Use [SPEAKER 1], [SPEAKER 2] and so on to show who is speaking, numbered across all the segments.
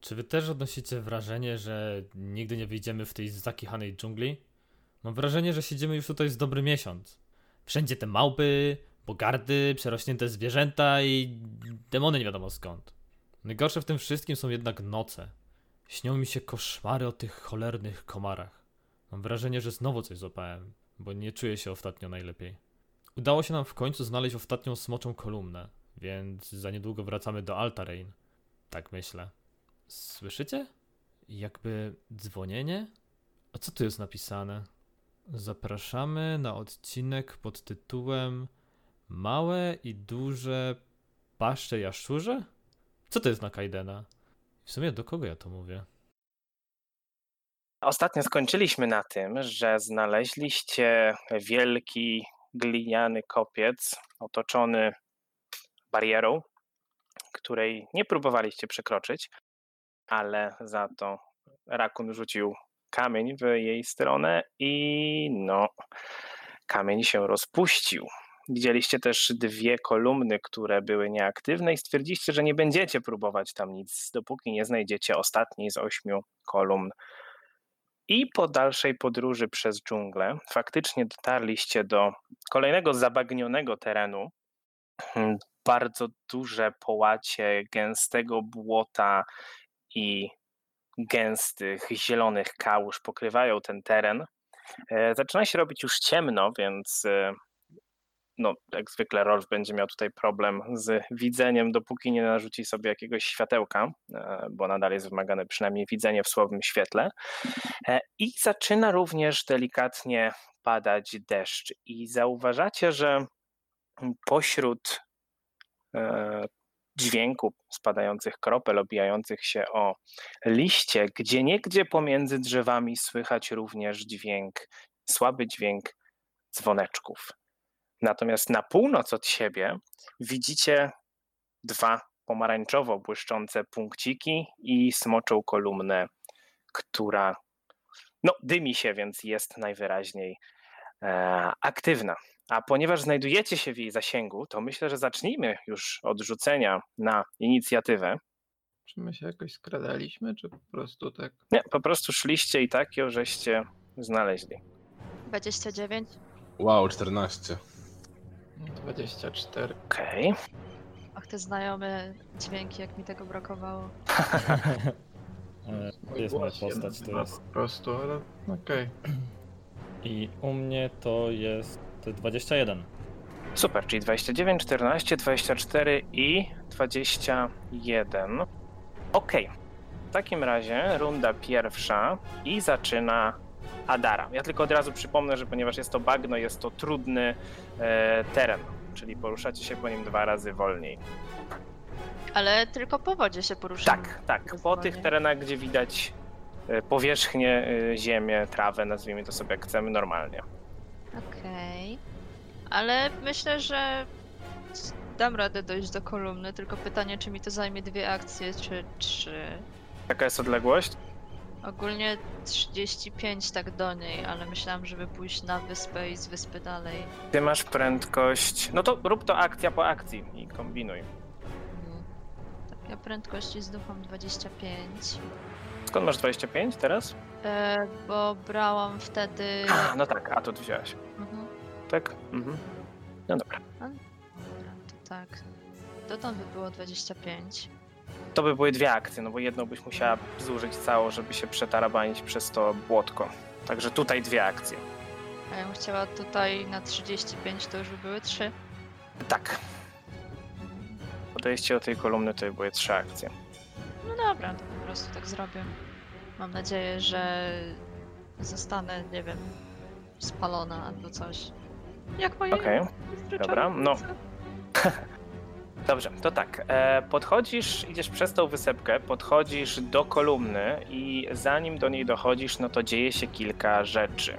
[SPEAKER 1] Czy wy też odnosicie wrażenie, że nigdy nie wyjdziemy w tej zakichanej dżungli? Mam wrażenie, że siedzimy już tutaj z dobry miesiąc. Wszędzie te małpy, bogardy, przerośnięte zwierzęta i demony nie wiadomo skąd. Najgorsze w tym wszystkim są jednak noce. Śnią mi się koszmary o tych cholernych komarach. Mam wrażenie, że znowu coś złapałem, bo nie czuję się ostatnio najlepiej. Udało się nam w końcu znaleźć ostatnią smoczą kolumnę, więc za niedługo wracamy do Altarain. Tak myślę. Słyszycie? Jakby dzwonienie? A co tu jest napisane? Zapraszamy na odcinek pod tytułem Małe i duże paszcze jaszczurze? Co to jest na Kaidena? W sumie do kogo ja to mówię?
[SPEAKER 2] Ostatnio skończyliśmy na tym, że znaleźliście wielki gliniany kopiec otoczony barierą, której nie próbowaliście przekroczyć, ale za to rakun rzucił kamień w jej stronę i no, kamień się rozpuścił. Widzieliście też dwie kolumny, które były nieaktywne i stwierdziliście, że nie będziecie próbować tam nic, dopóki nie znajdziecie ostatniej z ośmiu kolumn. I po dalszej podróży przez dżunglę faktycznie dotarliście do kolejnego zabagnionego terenu. Hmm, Bardzo duże połacie gęstego błota i gęstych, zielonych kałuż pokrywają ten teren. E, Zaczyna się robić już ciemno, więc e, no, jak zwykle Rolf będzie miał tutaj problem z widzeniem, dopóki nie narzuci sobie jakiegoś światełka, e, bo nadal jest wymagane przynajmniej widzenie w słabym świetle. E, I zaczyna również delikatnie padać deszcz. I zauważacie, że pośród e, dźwięku spadających kropel, obijających się o liście, gdzie niegdzie pomiędzy drzewami słychać również dźwięk, słaby dźwięk dzwoneczków. Natomiast na północ od siebie widzicie dwa pomarańczowo błyszczące punkciki i smoczą kolumnę, która no, dymi się, więc jest najwyraźniej e, aktywna. A ponieważ znajdujecie się w jej zasięgu, to myślę, że zacznijmy już od rzucenia na inicjatywę.
[SPEAKER 3] Czy my się jakoś skradaliśmy, czy po prostu tak?
[SPEAKER 2] Nie, po prostu szliście i tak ją żeście znaleźli.
[SPEAKER 4] 29.
[SPEAKER 5] Wow, 14.
[SPEAKER 3] 24.
[SPEAKER 2] Okej.
[SPEAKER 4] Ach, te znajome dźwięki, jak mi tego brakowało.
[SPEAKER 1] E,
[SPEAKER 3] Mój
[SPEAKER 1] Jest moja
[SPEAKER 3] głos, jeden,
[SPEAKER 1] postać, to
[SPEAKER 3] dwa
[SPEAKER 1] jest.
[SPEAKER 3] Po prostu, ale okej.
[SPEAKER 1] I u mnie to jest 21.
[SPEAKER 2] Super, czyli 29, 14, 24 i 21. Okej. W takim razie runda pierwsza i zaczyna Adara. Ja tylko od razu przypomnę, że ponieważ jest to bagno, jest to trudny e, teren, czyli poruszacie się po nim dwa razy wolniej.
[SPEAKER 4] Ale tylko po wodzie się poruszamy.
[SPEAKER 2] Tak, tak. Po
[SPEAKER 4] Zdecydowanie.
[SPEAKER 2] tych terenach, gdzie widać e, powierzchnię, e, ziemię, trawę, nazwijmy to sobie jak chcemy, normalnie.
[SPEAKER 4] Okej. Ale myślę, że dam radę dojść do kolumny, tylko pytanie, czy mi to zajmie dwie akcje, czy trzy.
[SPEAKER 2] Jaka jest odległość?
[SPEAKER 4] Ogólnie 35 tak do niej, ale myślałam, żeby pójść na wyspę i z wyspy dalej.
[SPEAKER 2] Ty masz prędkość. No to rób to akcja po akcji i kombinuj.
[SPEAKER 4] Mm. Tak, ja prędkości zducham 25,
[SPEAKER 2] Skąd masz 25 teraz?
[SPEAKER 4] e, bo brałam wtedy...
[SPEAKER 2] A, no tak, a to ty wziąłeś.
[SPEAKER 4] Mhm.
[SPEAKER 2] Tak? Mhm. No dobra.
[SPEAKER 4] Dobra, to tak. Dotąd by było 25.
[SPEAKER 2] To by były dwie akcje, no bo jedną byś musiała zużyć cało, żeby się przetarabanić przez to błotko. Także tutaj dwie akcje.
[SPEAKER 4] A ja bym chciała tutaj na 35, to już by były 3.
[SPEAKER 2] Tak. Podejście do tej kolumny to by były trzy akcje.
[SPEAKER 4] No dobra, to po prostu tak zrobię. Mam nadzieję, że zostanę, nie wiem, spalona albo coś. Jak moje
[SPEAKER 2] Okej.
[SPEAKER 4] zwyczajne
[SPEAKER 2] dobra, no.
[SPEAKER 4] serce.
[SPEAKER 2] Dobrze, to tak. E, podchodzisz, idziesz przez tą wysepkę, podchodzisz do kolumny i zanim do niej dochodzisz, no to dzieje się kilka rzeczy.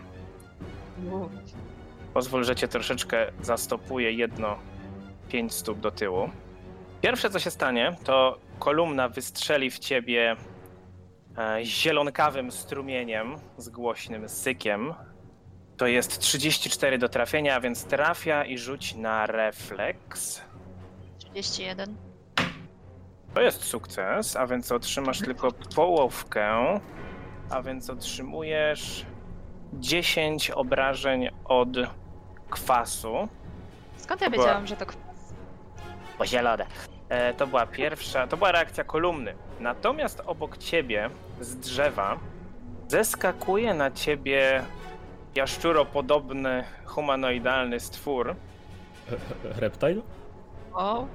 [SPEAKER 4] U,
[SPEAKER 2] Pozwól, że cię troszeczkę zastopuję jedno 5 stóp do tyłu. Pierwsze, co się stanie, to kolumna wystrzeli w ciebie e, zielonkawym strumieniem z głośnym sykiem. To jest 34 do trafienia, a więc trafia i rzuć na refleks.
[SPEAKER 4] 31.
[SPEAKER 2] To jest sukces, a więc otrzymasz tylko połowkę, a więc otrzymujesz 10 obrażeń od kwasu.
[SPEAKER 4] Skąd ja
[SPEAKER 2] Była-
[SPEAKER 4] wiedziałam, że to kwas?
[SPEAKER 2] Pozielone. E, to była pierwsza, to była reakcja kolumny. Natomiast obok ciebie z drzewa zeskakuje na ciebie jaszczuropodobny humanoidalny stwór.
[SPEAKER 6] Reptile?
[SPEAKER 4] O,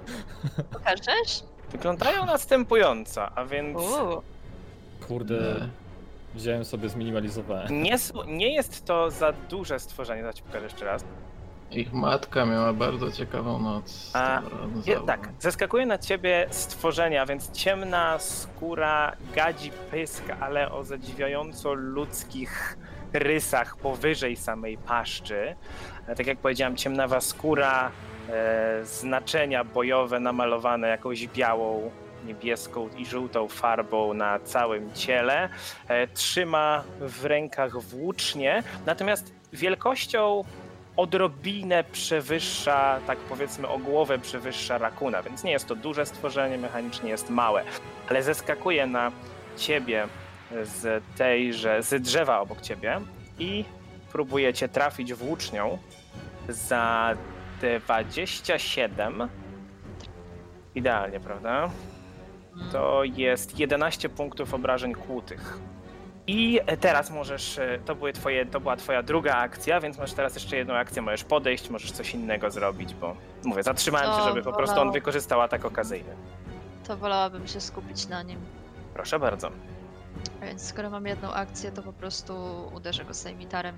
[SPEAKER 4] pokażesz?
[SPEAKER 2] Wyglądają następująco, a więc
[SPEAKER 4] Uuu,
[SPEAKER 6] Kurde, wziąłem sobie, zminimalizowałem.
[SPEAKER 2] nie, s- nie jest to za duże stworzenie, zaraz ci pokażę jeszcze raz.
[SPEAKER 3] Ich matka miała bardzo ciekawą noc.
[SPEAKER 2] A,
[SPEAKER 3] Dobra,
[SPEAKER 2] Je,
[SPEAKER 3] zauważ.
[SPEAKER 2] tak, zeskakuje na ciebie stworzenia, więc ciemna skóra gadzi pysk, ale o zadziwiająco ludzkich rysach powyżej samej paszczy. E, Tak jak powiedziałem, ciemnawa skóra, e, znaczenia bojowe namalowane jakąś białą, niebieską i żółtą farbą na całym ciele. E, Trzyma w rękach włócznie, natomiast wielkością odrobinę przewyższa, tak powiedzmy o głowę przewyższa rakuna, więc nie jest to duże stworzenie, mechanicznie jest małe, ale zeskakuje na ciebie z tejże, z drzewa obok ciebie i próbuje cię trafić włócznią za 27. Idealnie, prawda? To jest 11 punktów obrażeń kłutych. I teraz możesz, e, to, były twoje, to była twoja druga akcja, więc masz teraz jeszcze jedną akcję, możesz podejść, możesz coś innego zrobić, bo mówię, zatrzymałem cię,
[SPEAKER 4] O,
[SPEAKER 2] żeby po prostu on
[SPEAKER 4] wolałam.
[SPEAKER 2] wykorzystał atak okazyjny.
[SPEAKER 4] to wolałabym się skupić na nim.
[SPEAKER 2] Proszę bardzo.
[SPEAKER 4] A Więc skoro mam jedną akcję, to po prostu uderzę go sejmitarem.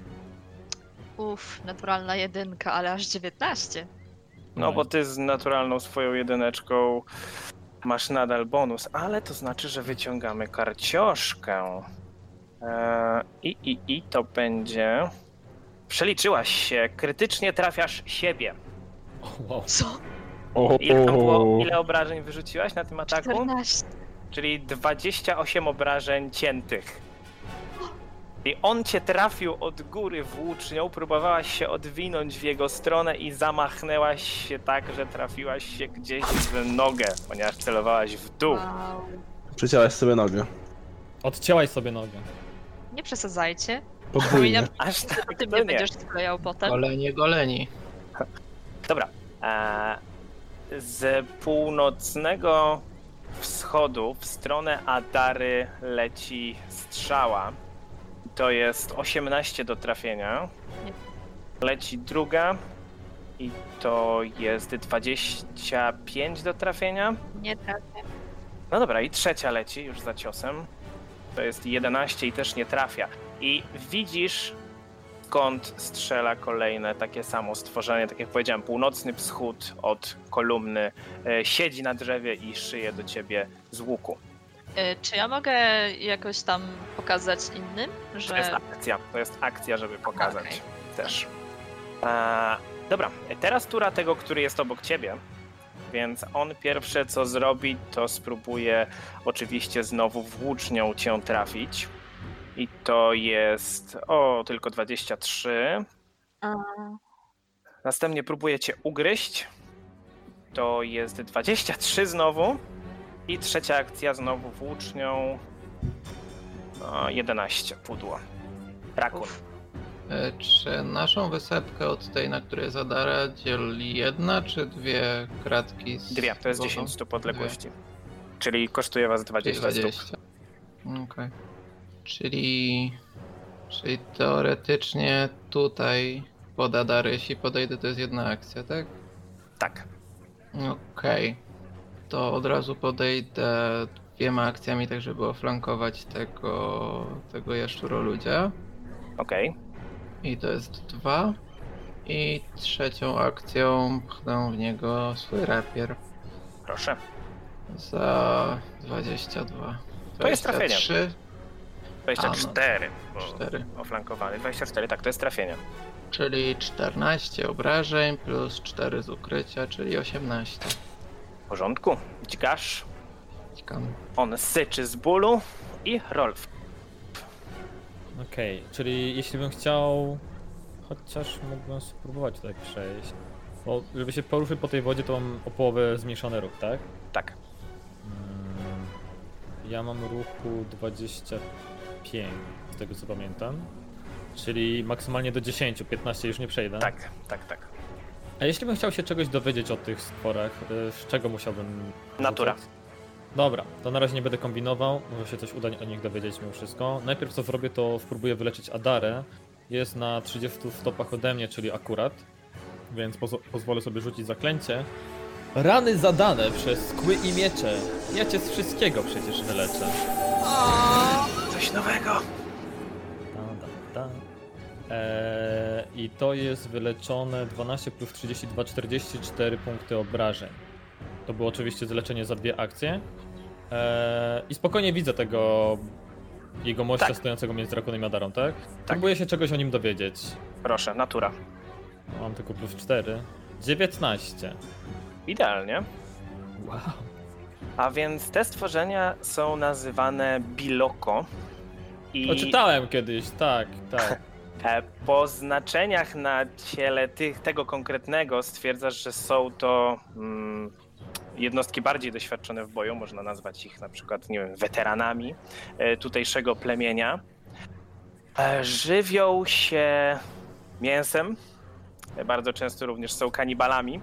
[SPEAKER 4] Uff, naturalna jedynka, ale aż 19.
[SPEAKER 2] No bo ty z naturalną swoją jedyneczką masz nadal bonus, ale to znaczy, że wyciągamy karcioszkę. Eee, I, i, i to będzie. Przeliczyłaś się, krytycznie trafiasz siebie.
[SPEAKER 6] Wow.
[SPEAKER 4] Co?
[SPEAKER 5] O,
[SPEAKER 2] Ile, tam było, ile obrażeń wyrzuciłaś na tym ataku?
[SPEAKER 4] 14.
[SPEAKER 2] Czyli 28 obrażeń ciętych. I on cię trafił od góry włócznią, próbowałaś się odwinąć w jego stronę i zamachnęłaś się tak, że trafiłaś się gdzieś w nogę, ponieważ celowałaś w dół.
[SPEAKER 4] Wow.
[SPEAKER 5] Przeciąłeś sobie nogę.
[SPEAKER 6] Odcięłaś sobie nogę.
[SPEAKER 4] Nie przesadzajcie.
[SPEAKER 5] Podwójnie.
[SPEAKER 4] Powinienem
[SPEAKER 2] Aż tak
[SPEAKER 4] ty
[SPEAKER 2] to
[SPEAKER 4] mnie
[SPEAKER 2] nie.
[SPEAKER 4] będziesz sklejał
[SPEAKER 2] Tak?
[SPEAKER 4] potem.
[SPEAKER 3] Golenie goleni.
[SPEAKER 2] Dobra. A z północnego wschodu w stronę Adary leci strzała. To jest 18 do trafienia. Leci druga i to jest 25 do trafienia.
[SPEAKER 4] Nie tak.
[SPEAKER 2] No dobra, i trzecia leci już za ciosem. To jest 11 i też nie trafia. I widzisz, skąd strzela kolejne takie samo stworzenie. Tak jak powiedziałem, północny wschód od kolumny e, siedzi na drzewie i szyje do ciebie z łuku.
[SPEAKER 4] Y, Czy ja mogę jakoś tam pokazać innym,
[SPEAKER 2] To jest
[SPEAKER 4] że
[SPEAKER 2] akcja, to jest akcja, żeby pokazać
[SPEAKER 4] Okej.
[SPEAKER 2] też. A, dobra, teraz tura tego, który jest obok ciebie. Więc on pierwsze co zrobi, to spróbuje oczywiście znowu włócznią cię trafić. I to jest. O, tylko 23.
[SPEAKER 4] A.
[SPEAKER 2] Następnie próbuje cię ugryźć. To jest 23 znowu. I trzecia akcja znowu włócznią. O, 11 pudło. Rakun.
[SPEAKER 4] Uf.
[SPEAKER 3] E, Czy naszą wysepkę od tej, na której zadara, dzieli jedna czy dwie kratki z
[SPEAKER 2] Dwie, to jest
[SPEAKER 3] wodą?
[SPEAKER 2] 10 stóp odległości. Czyli kosztuje was 20, 20 stóp.
[SPEAKER 3] Okej. Czyli, czyli teoretycznie tutaj pod Adar, jeśli podejdę, to jest jedna akcja, tak?
[SPEAKER 2] Tak.
[SPEAKER 3] Okej. To od razu podejdę dwiema akcjami, tak żeby oflankować tego, tego jaszczuro ludzia.
[SPEAKER 2] Okej.
[SPEAKER 3] I to jest dwa. I trzecią akcją pchnę w niego swój rapier
[SPEAKER 2] Proszę.
[SPEAKER 3] za 22.
[SPEAKER 2] To jest trafienie.
[SPEAKER 3] 23,
[SPEAKER 2] 24. Bo
[SPEAKER 3] 4.
[SPEAKER 2] oflankowany. 24, tak, to jest trafienie.
[SPEAKER 3] Czyli 14 obrażeń plus 4 z ukrycia, czyli 18.
[SPEAKER 2] W porządku. Dźgasz.
[SPEAKER 3] Cikam.
[SPEAKER 2] On syczy z bólu. I Rolf.
[SPEAKER 6] Okej, czyli jeśli bym chciał. Chociaż mógłbym spróbować tutaj przejść. Bo żeby się poruszyć po tej wodzie, to mam o połowę zmniejszony ruch, tak?
[SPEAKER 2] Tak.
[SPEAKER 6] Mm,
[SPEAKER 1] Ja mam ruchu 25, z tego co pamiętam. Czyli maksymalnie do 10, 15 już nie przejdę.
[SPEAKER 2] Tak, tak, tak.
[SPEAKER 1] A jeśli bym chciał się czegoś dowiedzieć o tych stworach, y, z czego musiałbym.
[SPEAKER 2] Natura.
[SPEAKER 1] rzucać? Dobra, to na razie nie będę kombinował, może się coś uda o nich dowiedzieć mimo wszystko. Najpierw co zrobię, to spróbuję wyleczyć Adarę. Jest na 30 stopach ode mnie, czyli akurat, więc pozo- pozwolę sobie rzucić zaklęcie. Rany zadane przez kły i miecze. Ja cię z wszystkiego przecież wyleczę.
[SPEAKER 2] Coś nowego.
[SPEAKER 1] Da, da, da. Eee, I to jest wyleczone 12 plus 32, 44 punkty obrażeń. To było oczywiście zleczenie za dwie akcje. Eee, I spokojnie widzę tego jego mościa
[SPEAKER 2] Tak.
[SPEAKER 1] stojącego między drakonem i Adarą, tak? Próbuję się czegoś o nim dowiedzieć.
[SPEAKER 2] Proszę, natura.
[SPEAKER 1] Mam tylko plus 4. 19.
[SPEAKER 2] Idealnie.
[SPEAKER 1] Wow.
[SPEAKER 2] A więc te stworzenia są nazywane biloko.
[SPEAKER 1] To
[SPEAKER 2] I
[SPEAKER 1] czytałem kiedyś, tak, tak.
[SPEAKER 2] e, po znaczeniach na ciele tych, tego konkretnego stwierdzasz, że są to mm, jednostki bardziej doświadczone w boju. Można nazwać ich na przykład, nie wiem, weteranami e, tutejszego plemienia. E, Żywią się mięsem. E, Bardzo często również są kanibalami.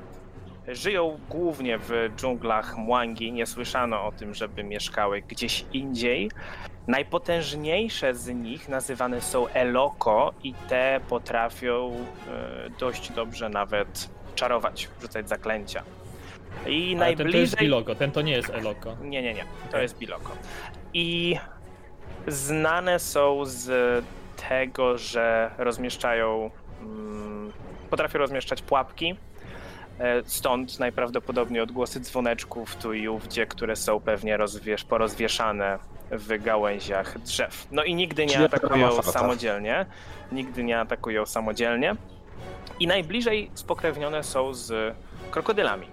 [SPEAKER 2] Żyją głównie w dżunglach Mwangi. Nie słyszano o tym, żeby mieszkały gdzieś indziej. Najpotężniejsze z nich nazywane są Eloko i te potrafią e, dość dobrze nawet czarować, rzucać zaklęcia.
[SPEAKER 1] Ale ten
[SPEAKER 2] I
[SPEAKER 1] to jest
[SPEAKER 2] najbliżej
[SPEAKER 1] Biloko, ten to nie jest Eloko.
[SPEAKER 2] nie, nie, nie. To
[SPEAKER 1] Okej.
[SPEAKER 2] jest Biloko. I znane są z tego, że rozmieszczają. Mm, potrafią rozmieszczać pułapki. E, Stąd najprawdopodobniej odgłosy dzwoneczków tu i ówdzie, które są pewnie rozwiesz- porozwieszane w gałęziach drzew. No i nigdy nie
[SPEAKER 5] Czyli rama
[SPEAKER 2] atakują
[SPEAKER 5] fata.
[SPEAKER 2] samodzielnie. Nigdy nie atakują samodzielnie. I najbliżej spokrewnione są z krokodylami.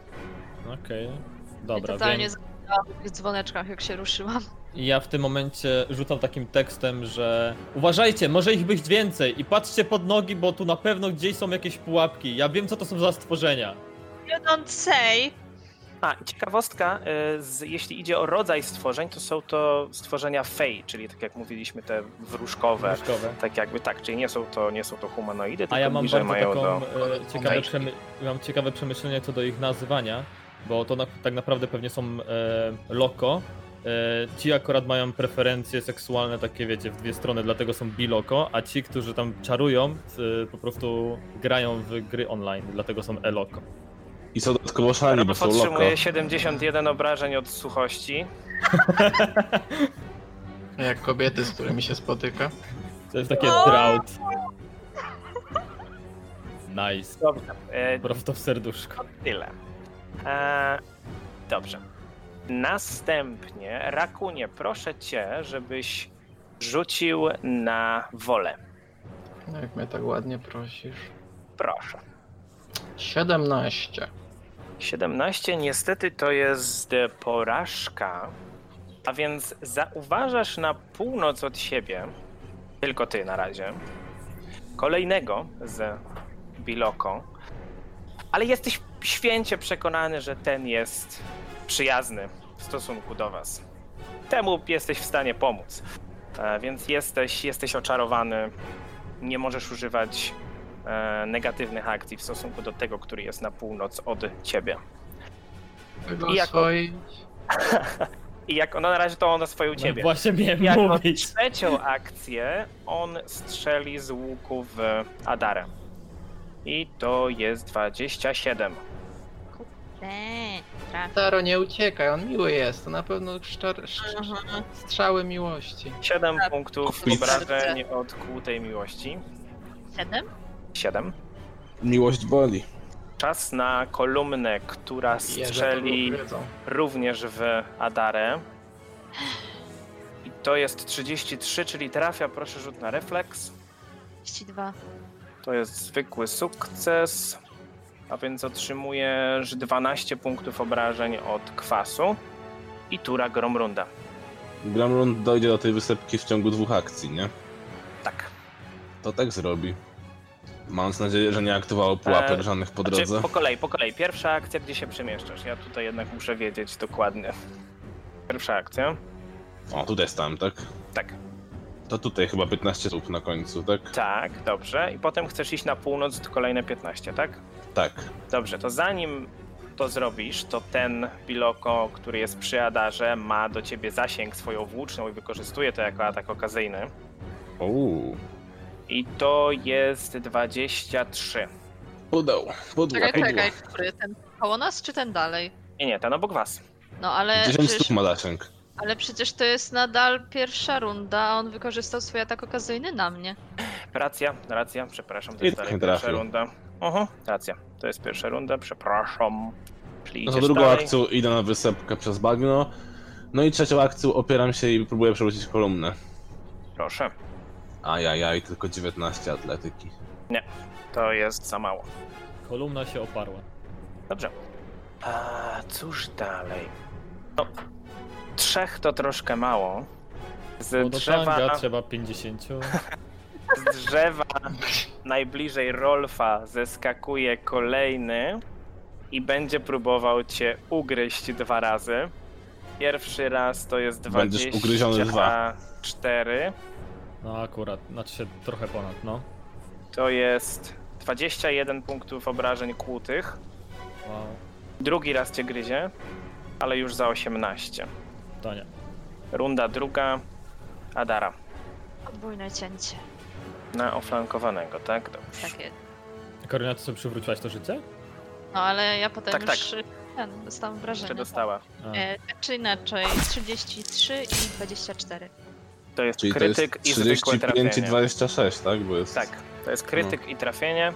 [SPEAKER 1] Okej.
[SPEAKER 4] Ja
[SPEAKER 1] Dobra,
[SPEAKER 4] totalnie
[SPEAKER 1] więc...
[SPEAKER 4] zapomniałam o tych dzwoneczkach, jak się ruszyłam.
[SPEAKER 1] I ja w tym momencie rzucam takim tekstem, że uważajcie, może ich być więcej i patrzcie pod nogi, bo tu na pewno gdzieś są jakieś pułapki. Ja wiem, co to są za stworzenia.
[SPEAKER 4] You don't say!
[SPEAKER 2] A, i ciekawostka, y, z, jeśli idzie o rodzaj stworzeń, to są to stworzenia fej, czyli tak jak mówiliśmy, te wróżkowe.
[SPEAKER 1] Różkowe.
[SPEAKER 2] Tak jakby tak, czyli nie są to, nie są to humanoidy, tylko
[SPEAKER 1] A ja mam
[SPEAKER 2] bliżej
[SPEAKER 1] bardzo
[SPEAKER 2] mają
[SPEAKER 1] taką
[SPEAKER 2] do...
[SPEAKER 1] e, ciekawe,
[SPEAKER 2] kombajki.
[SPEAKER 1] przemy- mam ciekawe przemyślenie co do ich nazywania, bo to na- tak naprawdę pewnie są e, loko. E, ci akurat mają preferencje seksualne takie, wiecie, w dwie strony, dlatego są biloko, a ci, którzy tam czarują, e, po prostu grają w gry online, dlatego są eloko.
[SPEAKER 5] I co dodatkowo szaleni, bo
[SPEAKER 2] Rob
[SPEAKER 5] są loko.
[SPEAKER 2] otrzymuje 71 obrażeń od suchości.
[SPEAKER 3] Jak kobiety, z którymi się spotyka.
[SPEAKER 1] To jest takie
[SPEAKER 4] O!
[SPEAKER 1] drought. Nice.
[SPEAKER 2] Dobra. E,
[SPEAKER 1] Prosto w serduszko.
[SPEAKER 2] tyle. E, dobrze. Następnie, Rakunie, proszę cię, żebyś rzucił na wolę.
[SPEAKER 3] No, Jak mnie tak ładnie prosisz.
[SPEAKER 2] Proszę.
[SPEAKER 3] 17.
[SPEAKER 2] 17 niestety to jest e, porażka. A więc zauważasz na północ od siebie, tylko ty na razie, kolejnego z Biloko. Ale jesteś święcie przekonany, że ten jest przyjazny w stosunku do was. Temu jesteś w stanie pomóc. E, Więc jesteś, jesteś oczarowany. Nie możesz używać e, negatywnych akcji w stosunku do tego, który jest na północ od ciebie.
[SPEAKER 3] Tego
[SPEAKER 2] I jako-
[SPEAKER 3] swoi-
[SPEAKER 2] I jak ono na razie to ono swoje u
[SPEAKER 1] No
[SPEAKER 2] ciebie.
[SPEAKER 1] właśnie miałem
[SPEAKER 2] jako
[SPEAKER 1] mówić.
[SPEAKER 2] trzecią akcję on strzeli z łuku w Adarę. I to jest 27.
[SPEAKER 4] Eee, trafi.
[SPEAKER 3] Taro, nie uciekaj, on miły jest. To na pewno szczar... szcz-
[SPEAKER 4] Aha.
[SPEAKER 3] strzały miłości.
[SPEAKER 2] 7 punktów
[SPEAKER 5] Kupić.
[SPEAKER 2] obrażeń od kłutej miłości.
[SPEAKER 4] Siedem?
[SPEAKER 2] 7.
[SPEAKER 5] Miłość boli.
[SPEAKER 2] Czas na kolumnę, która
[SPEAKER 3] Jeże,
[SPEAKER 2] strzeli
[SPEAKER 3] to wiedzą.
[SPEAKER 2] również w Adarę. I to jest 33, czyli trafia. Proszę rzut na refleks.
[SPEAKER 4] 32.
[SPEAKER 2] To jest zwykły sukces, a więc otrzymujesz 12 punktów obrażeń od kwasu i tura Gromrunda.
[SPEAKER 5] Gramrund dojdzie do tej wysepki w ciągu dwóch akcji, nie?
[SPEAKER 2] Tak.
[SPEAKER 5] To tak zrobi. Mając nadzieję, że nie aktywował pułapek
[SPEAKER 2] E,
[SPEAKER 5] żadnych po
[SPEAKER 2] Znaczy,
[SPEAKER 5] drodze.
[SPEAKER 2] po kolei, po kolei. Pierwsza akcja, gdzie się przemieszczasz. Ja tutaj jednak muszę wiedzieć dokładnie. Pierwsza akcja.
[SPEAKER 5] O, tutaj stałem, tak?
[SPEAKER 2] Tak.
[SPEAKER 5] To tutaj chyba 15 stóp na końcu, tak?
[SPEAKER 2] Tak, dobrze. I potem chcesz iść na północ to kolejne 15, tak?
[SPEAKER 5] Tak.
[SPEAKER 2] Dobrze, to zanim to zrobisz, to ten Biloko, który jest przy Adarze, ma do ciebie zasięg swoją włóczną i wykorzystuje to jako atak okazyjny.
[SPEAKER 5] Uuu.
[SPEAKER 2] I to jest 23.
[SPEAKER 5] Udał. Pudło,
[SPEAKER 4] Czekaj,
[SPEAKER 5] pudło.
[SPEAKER 4] czekaj, który? Ten koło nas czy ten dalej?
[SPEAKER 2] Nie, nie, ten obok was.
[SPEAKER 4] No ale
[SPEAKER 5] 10
[SPEAKER 4] przecież,
[SPEAKER 5] stóp ma zasięg.
[SPEAKER 4] ale przecież to jest nadal pierwsza runda, a on wykorzystał swój atak okazyjny na mnie.
[SPEAKER 2] Racja, racja, przepraszam, to
[SPEAKER 5] I
[SPEAKER 2] jest
[SPEAKER 5] tak
[SPEAKER 2] dalej
[SPEAKER 5] nie
[SPEAKER 2] pierwsza
[SPEAKER 5] trafił.
[SPEAKER 2] runda. Oho, racja, to jest pierwsza runda, przepraszam. Czyli
[SPEAKER 5] No
[SPEAKER 2] idziesz
[SPEAKER 5] to drugą
[SPEAKER 2] dalej.
[SPEAKER 5] akcją idę na wysepkę przez bagno. No i trzecią akcją opieram się i próbuję przewrócić kolumnę.
[SPEAKER 2] Proszę,
[SPEAKER 5] Ajajaj, tylko 19 atletyki.
[SPEAKER 2] to jest za mało.
[SPEAKER 6] Kolumna się oparła.
[SPEAKER 2] Dobrze. A cóż dalej? No, trzech to troszkę mało.
[SPEAKER 6] Bo
[SPEAKER 1] No,
[SPEAKER 2] Z
[SPEAKER 6] No do tanga
[SPEAKER 2] drzewa,
[SPEAKER 6] trzeba 50.
[SPEAKER 2] z drzewa najbliżej Rolfa zeskakuje kolejny i będzie próbował cię ugryźć dwa razy. Pierwszy raz to jest
[SPEAKER 5] Będziesz ugryziony dwa.
[SPEAKER 2] 24.
[SPEAKER 6] No akurat, znaczy się trochę ponad, no.
[SPEAKER 2] To jest 21 punktów obrażeń kłutych.
[SPEAKER 6] Wow,
[SPEAKER 2] Drugi raz cię gryzie, ale już za 18.
[SPEAKER 6] to nie.
[SPEAKER 2] Runda druga. Adara.
[SPEAKER 4] Podwójne cięcie.
[SPEAKER 2] Na oflankowanego, tak? Dobrze.
[SPEAKER 4] Takie.
[SPEAKER 6] Karolina, ty sobie przywróciłaś to życie?
[SPEAKER 4] No ale ja potem
[SPEAKER 2] Tak, tak.
[SPEAKER 4] już y, ten, dostałam
[SPEAKER 2] Jeszcze
[SPEAKER 4] wrażenie.
[SPEAKER 2] dostała.
[SPEAKER 6] A,
[SPEAKER 4] E, tak czy inaczej, 33 i 24.
[SPEAKER 2] To jest
[SPEAKER 5] Czyli to
[SPEAKER 2] krytyk
[SPEAKER 5] jest
[SPEAKER 2] i zwykłe
[SPEAKER 5] 35 i No.
[SPEAKER 2] trafienie.
[SPEAKER 5] 26, tak? Bo jest...
[SPEAKER 2] Tak, to jest krytyk i trafienie.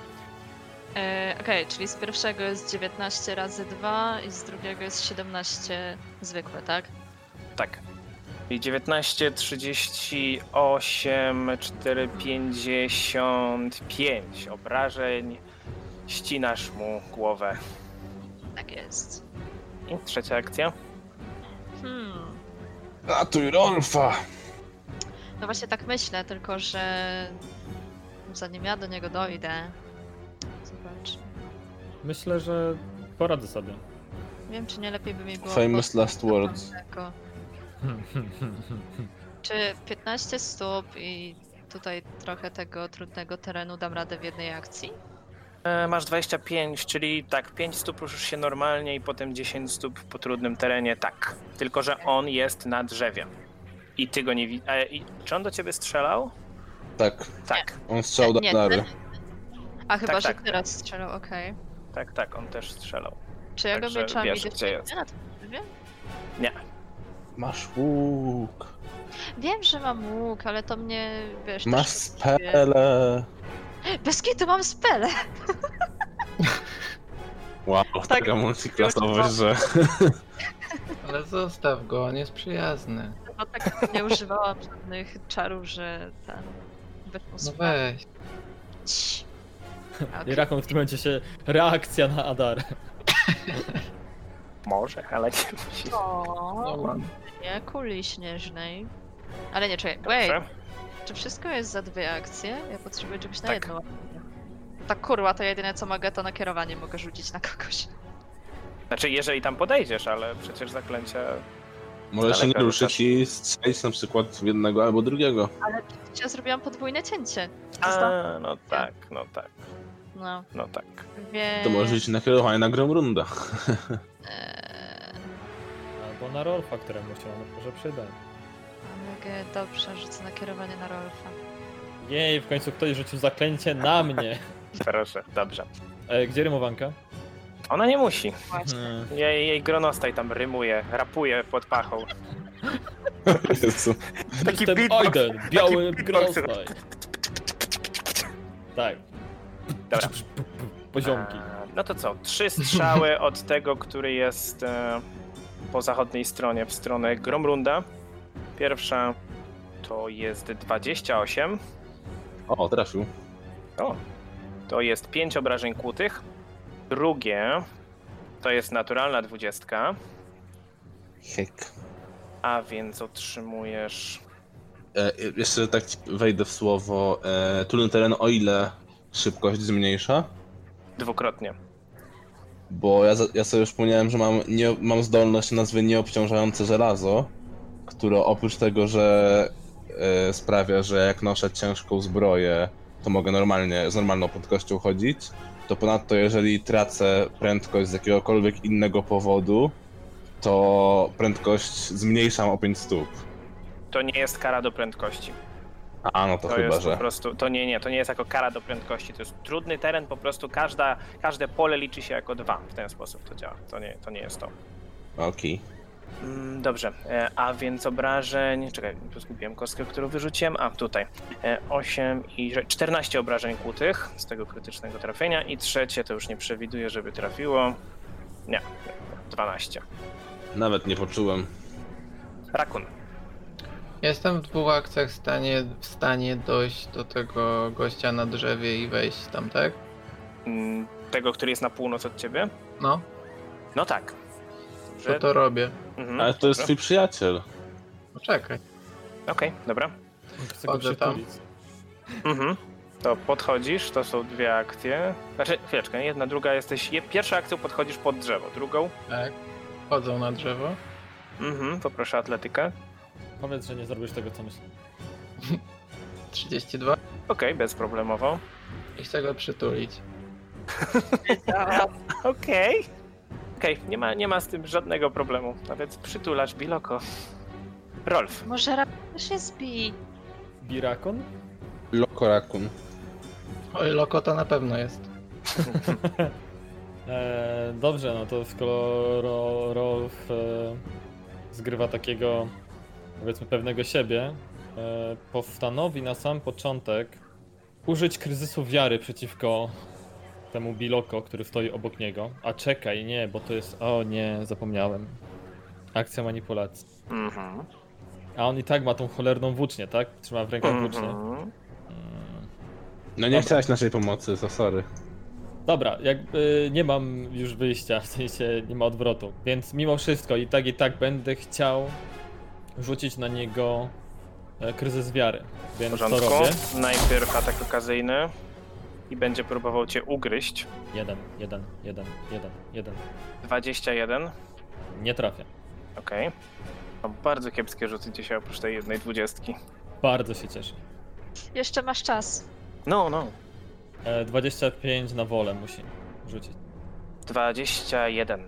[SPEAKER 4] E, Okej, czyli z pierwszego jest 19 razy 2 i z drugiego jest 17 zwykłe, tak?
[SPEAKER 2] Tak. I 19, 38, 4, 55 obrażeń. Ścinasz mu głowę.
[SPEAKER 4] Tak jest.
[SPEAKER 2] I trzecia akcja.
[SPEAKER 4] Hmm.
[SPEAKER 5] Ratuj Rolfa!
[SPEAKER 4] No właśnie tak myślę, tylko że zanim ja do niego dojdę. Zobacz.
[SPEAKER 6] Myślę, że poradzę sobie.
[SPEAKER 4] Wiem, czy nie lepiej by mi było.
[SPEAKER 5] Famous
[SPEAKER 4] pod-
[SPEAKER 5] last words.
[SPEAKER 4] tego. Czy 15 stóp i tutaj trochę tego trudnego terenu dam radę w jednej akcji?
[SPEAKER 2] E, masz 25, czyli tak, 5 stóp ruszysz się normalnie i potem 10 stóp po trudnym terenie, tak. Tylko, że on jest na drzewie. I ty go nie widzisz. Czy on do ciebie strzelał?
[SPEAKER 5] Tak,
[SPEAKER 2] Tak,
[SPEAKER 5] on strzał do
[SPEAKER 4] Nie,
[SPEAKER 5] Dary.
[SPEAKER 4] A chyba, że
[SPEAKER 2] tak.
[SPEAKER 4] teraz strzelał, okej.
[SPEAKER 2] tak, tak, on też strzelał.
[SPEAKER 4] Czy ja go
[SPEAKER 2] Także
[SPEAKER 4] mieczami
[SPEAKER 2] wiesz,
[SPEAKER 4] idę w
[SPEAKER 2] gdzie
[SPEAKER 4] ciemno?
[SPEAKER 2] jest.
[SPEAKER 4] Na tym drzewie?
[SPEAKER 5] Masz łuk.
[SPEAKER 4] Wiem, że mam łuk, ale to mnie, wiesz...
[SPEAKER 5] Masz
[SPEAKER 4] troszkę dziwię.
[SPEAKER 5] spele.
[SPEAKER 4] Bez kitu mam spele!
[SPEAKER 5] Wow,
[SPEAKER 4] Tak,
[SPEAKER 5] taka multiklasowość, że...
[SPEAKER 3] Ale zostaw go, on jest przyjazny. No
[SPEAKER 4] Bo tak nie używałam żadnych czarów, że ten... Bez
[SPEAKER 3] No
[SPEAKER 4] usług.
[SPEAKER 3] weź.
[SPEAKER 4] Cii.
[SPEAKER 6] I
[SPEAKER 4] Okej.
[SPEAKER 6] raką w tym momencie się reakcja na Adar.
[SPEAKER 2] Może, ale nie musi.
[SPEAKER 3] No,
[SPEAKER 4] O,
[SPEAKER 3] ładnie.
[SPEAKER 4] nie, kuli śnieżnej. Ale nie, czekaj, wait,
[SPEAKER 2] Dobrze.
[SPEAKER 4] czy wszystko jest za dwie akcje? Ja potrzebuję czegoś na
[SPEAKER 2] Tak.
[SPEAKER 4] jedną akcję. Tak kurwa, to jedyne co mogę, to nakierowanie mogę rzucić na kogoś.
[SPEAKER 2] Znaczy, jeżeli tam podejdziesz, ale przecież zaklęcia.
[SPEAKER 5] Możesz się nie
[SPEAKER 2] Daleka
[SPEAKER 5] ruszyć
[SPEAKER 2] rzucasz.
[SPEAKER 5] i strzelić na przykład w jednego albo drugiego.
[SPEAKER 4] Ale ja zrobiłam podwójne cięcie. Zostaw-
[SPEAKER 2] A, no tak, no tak,
[SPEAKER 4] No,
[SPEAKER 2] no tak.
[SPEAKER 4] więc...
[SPEAKER 5] To może iść na kierowanie na grą runda.
[SPEAKER 4] Eee,
[SPEAKER 6] Albo na Rolfa, któremu się on może przyda.
[SPEAKER 4] mogę, dobrze, rzucę nakierowanie na Rolfa.
[SPEAKER 6] Jej, w końcu ktoś rzucił zaklęcie na mnie.
[SPEAKER 2] Proszę, dobrze.
[SPEAKER 6] E, gdzie rymowanka?
[SPEAKER 2] Ona nie musi.
[SPEAKER 4] Właśnie.
[SPEAKER 6] Hmm.
[SPEAKER 2] Jej, jej gronostaj tam rymuje, rapuje pod pachą.
[SPEAKER 5] Jezu.
[SPEAKER 2] Taki
[SPEAKER 6] Jestem
[SPEAKER 2] beatbox.
[SPEAKER 6] Aiden, biały
[SPEAKER 2] Taki
[SPEAKER 6] grostaj. Tak.
[SPEAKER 2] Dobra.
[SPEAKER 6] Poziomki.
[SPEAKER 2] A, No to co? Trzy strzały od tego, który jest e, po zachodniej stronie, w stronę Gromrunda. Pierwsza to jest 28.
[SPEAKER 5] O, trafił.
[SPEAKER 2] O, to jest 5 obrażeń kłutych. Drugie to jest naturalna dwudziestka,
[SPEAKER 5] Hek.
[SPEAKER 2] a więc otrzymujesz.
[SPEAKER 5] E, jeszcze tak ci wejdę w słowo. E, trudny teren o ile szybkość zmniejsza?
[SPEAKER 2] Dwukrotnie.
[SPEAKER 5] Bo ja, za- ja sobie już wspomniałem, że mam, nie, mam zdolność nazwy nieobciążające żelazo. które oprócz tego, że e, sprawia, że jak noszę ciężką zbroję, to mogę normalnie, z normalną prędkością chodzić, to ponadto jeżeli tracę prędkość z jakiegokolwiek innego powodu, to prędkość zmniejszam o 5 stóp.
[SPEAKER 2] To nie jest kara do prędkości.
[SPEAKER 5] A no to,
[SPEAKER 2] To,
[SPEAKER 5] chyba,
[SPEAKER 2] jest
[SPEAKER 5] że.
[SPEAKER 2] po prostu. To nie, nie, to nie jest jako kara do prędkości. To jest trudny teren, po prostu każda, każde pole liczy się jako dwa. W ten sposób to działa. To nie, to nie jest to.
[SPEAKER 5] Okej.
[SPEAKER 2] Mm, Dobrze, e, a więc obrażeń. Czekaj, tu zgubiłem kostkę, którą wyrzuciłem. A tutaj E, 8 i że- 14 obrażeń kłutych z tego krytycznego trafienia. I trzecie to już nie przewiduję, żeby trafiło. Nie, 12.
[SPEAKER 5] Nawet nie poczułem.
[SPEAKER 2] Rakun.
[SPEAKER 3] Jestem w dwóch akcjach w stanie, w stanie dojść do tego gościa na drzewie i wejść tam, tak?
[SPEAKER 2] Mm, Tego, który jest na północ od ciebie?
[SPEAKER 3] No,
[SPEAKER 2] No tak.
[SPEAKER 3] to to robię. No
[SPEAKER 2] Mhm,
[SPEAKER 5] No Ale to jest
[SPEAKER 2] dobra.
[SPEAKER 5] twój przyjaciel.
[SPEAKER 3] Poczekaj.
[SPEAKER 2] Okej, dobra.
[SPEAKER 1] Chcę go
[SPEAKER 3] Chodzę tam.
[SPEAKER 1] przytulić.
[SPEAKER 2] Mhm. To podchodzisz, to są dwie akcje. Znaczy, chwileczkę, jedna, druga jesteś. je- Pierwszą akcją podchodzisz pod drzewo, drugą.
[SPEAKER 3] Tak. Chodzą na drzewo.
[SPEAKER 2] Mhm, poproszę atletykę.
[SPEAKER 1] Powiedz, że nie zrobisz tego, co myślę.
[SPEAKER 3] 32.
[SPEAKER 2] Okej, bezproblemowo.
[SPEAKER 3] I chcę go przytulić.
[SPEAKER 5] Mhm.
[SPEAKER 2] Okej. Okej, nie, ma, nie ma z tym żadnego problemu. A więc przytulasz Biloko. Rolf.
[SPEAKER 4] Może ra- się zbij.
[SPEAKER 1] Birakon?
[SPEAKER 5] Lokorakun.
[SPEAKER 3] Oj, loko to na pewno jest.
[SPEAKER 1] E, dobrze, no to skoro Rolf e, zgrywa takiego, powiedzmy, pewnego siebie, e, postanowi na sam początek użyć kryzysu wiary przeciwko temu Biloko, który stoi obok niego. A czekaj, nie, bo to jest... O nie, zapomniałem. Akcja manipulacji.
[SPEAKER 2] Mhm.
[SPEAKER 1] A on i tak ma tą cholerną włócznię, tak? Trzyma w rękach włócznię.
[SPEAKER 2] Mhm.
[SPEAKER 1] Mm.
[SPEAKER 5] No nie chciałaś naszej pomocy, to sorry.
[SPEAKER 1] Dobra, jakby nie mam już wyjścia, w sensie nie ma odwrotu. Więc mimo wszystko i tak i tak będę chciał rzucić na niego e, kryzys wiary.
[SPEAKER 2] W
[SPEAKER 1] Więc co
[SPEAKER 2] porządku.
[SPEAKER 1] robię?
[SPEAKER 2] Najpierw atak okazyjny. I będzie próbował cię ugryźć.
[SPEAKER 1] Jeden, jeden, jeden, jeden, jeden.
[SPEAKER 2] 21.
[SPEAKER 1] Nie trafię.
[SPEAKER 2] Okej. No, bardzo kiepskie rzuty dzisiaj oprócz tej jednej dwudziestki.
[SPEAKER 1] Bardzo się cieszę.
[SPEAKER 4] Jeszcze masz czas.
[SPEAKER 2] No, no.
[SPEAKER 1] E, 25 na wolę musi rzucić.
[SPEAKER 2] 21.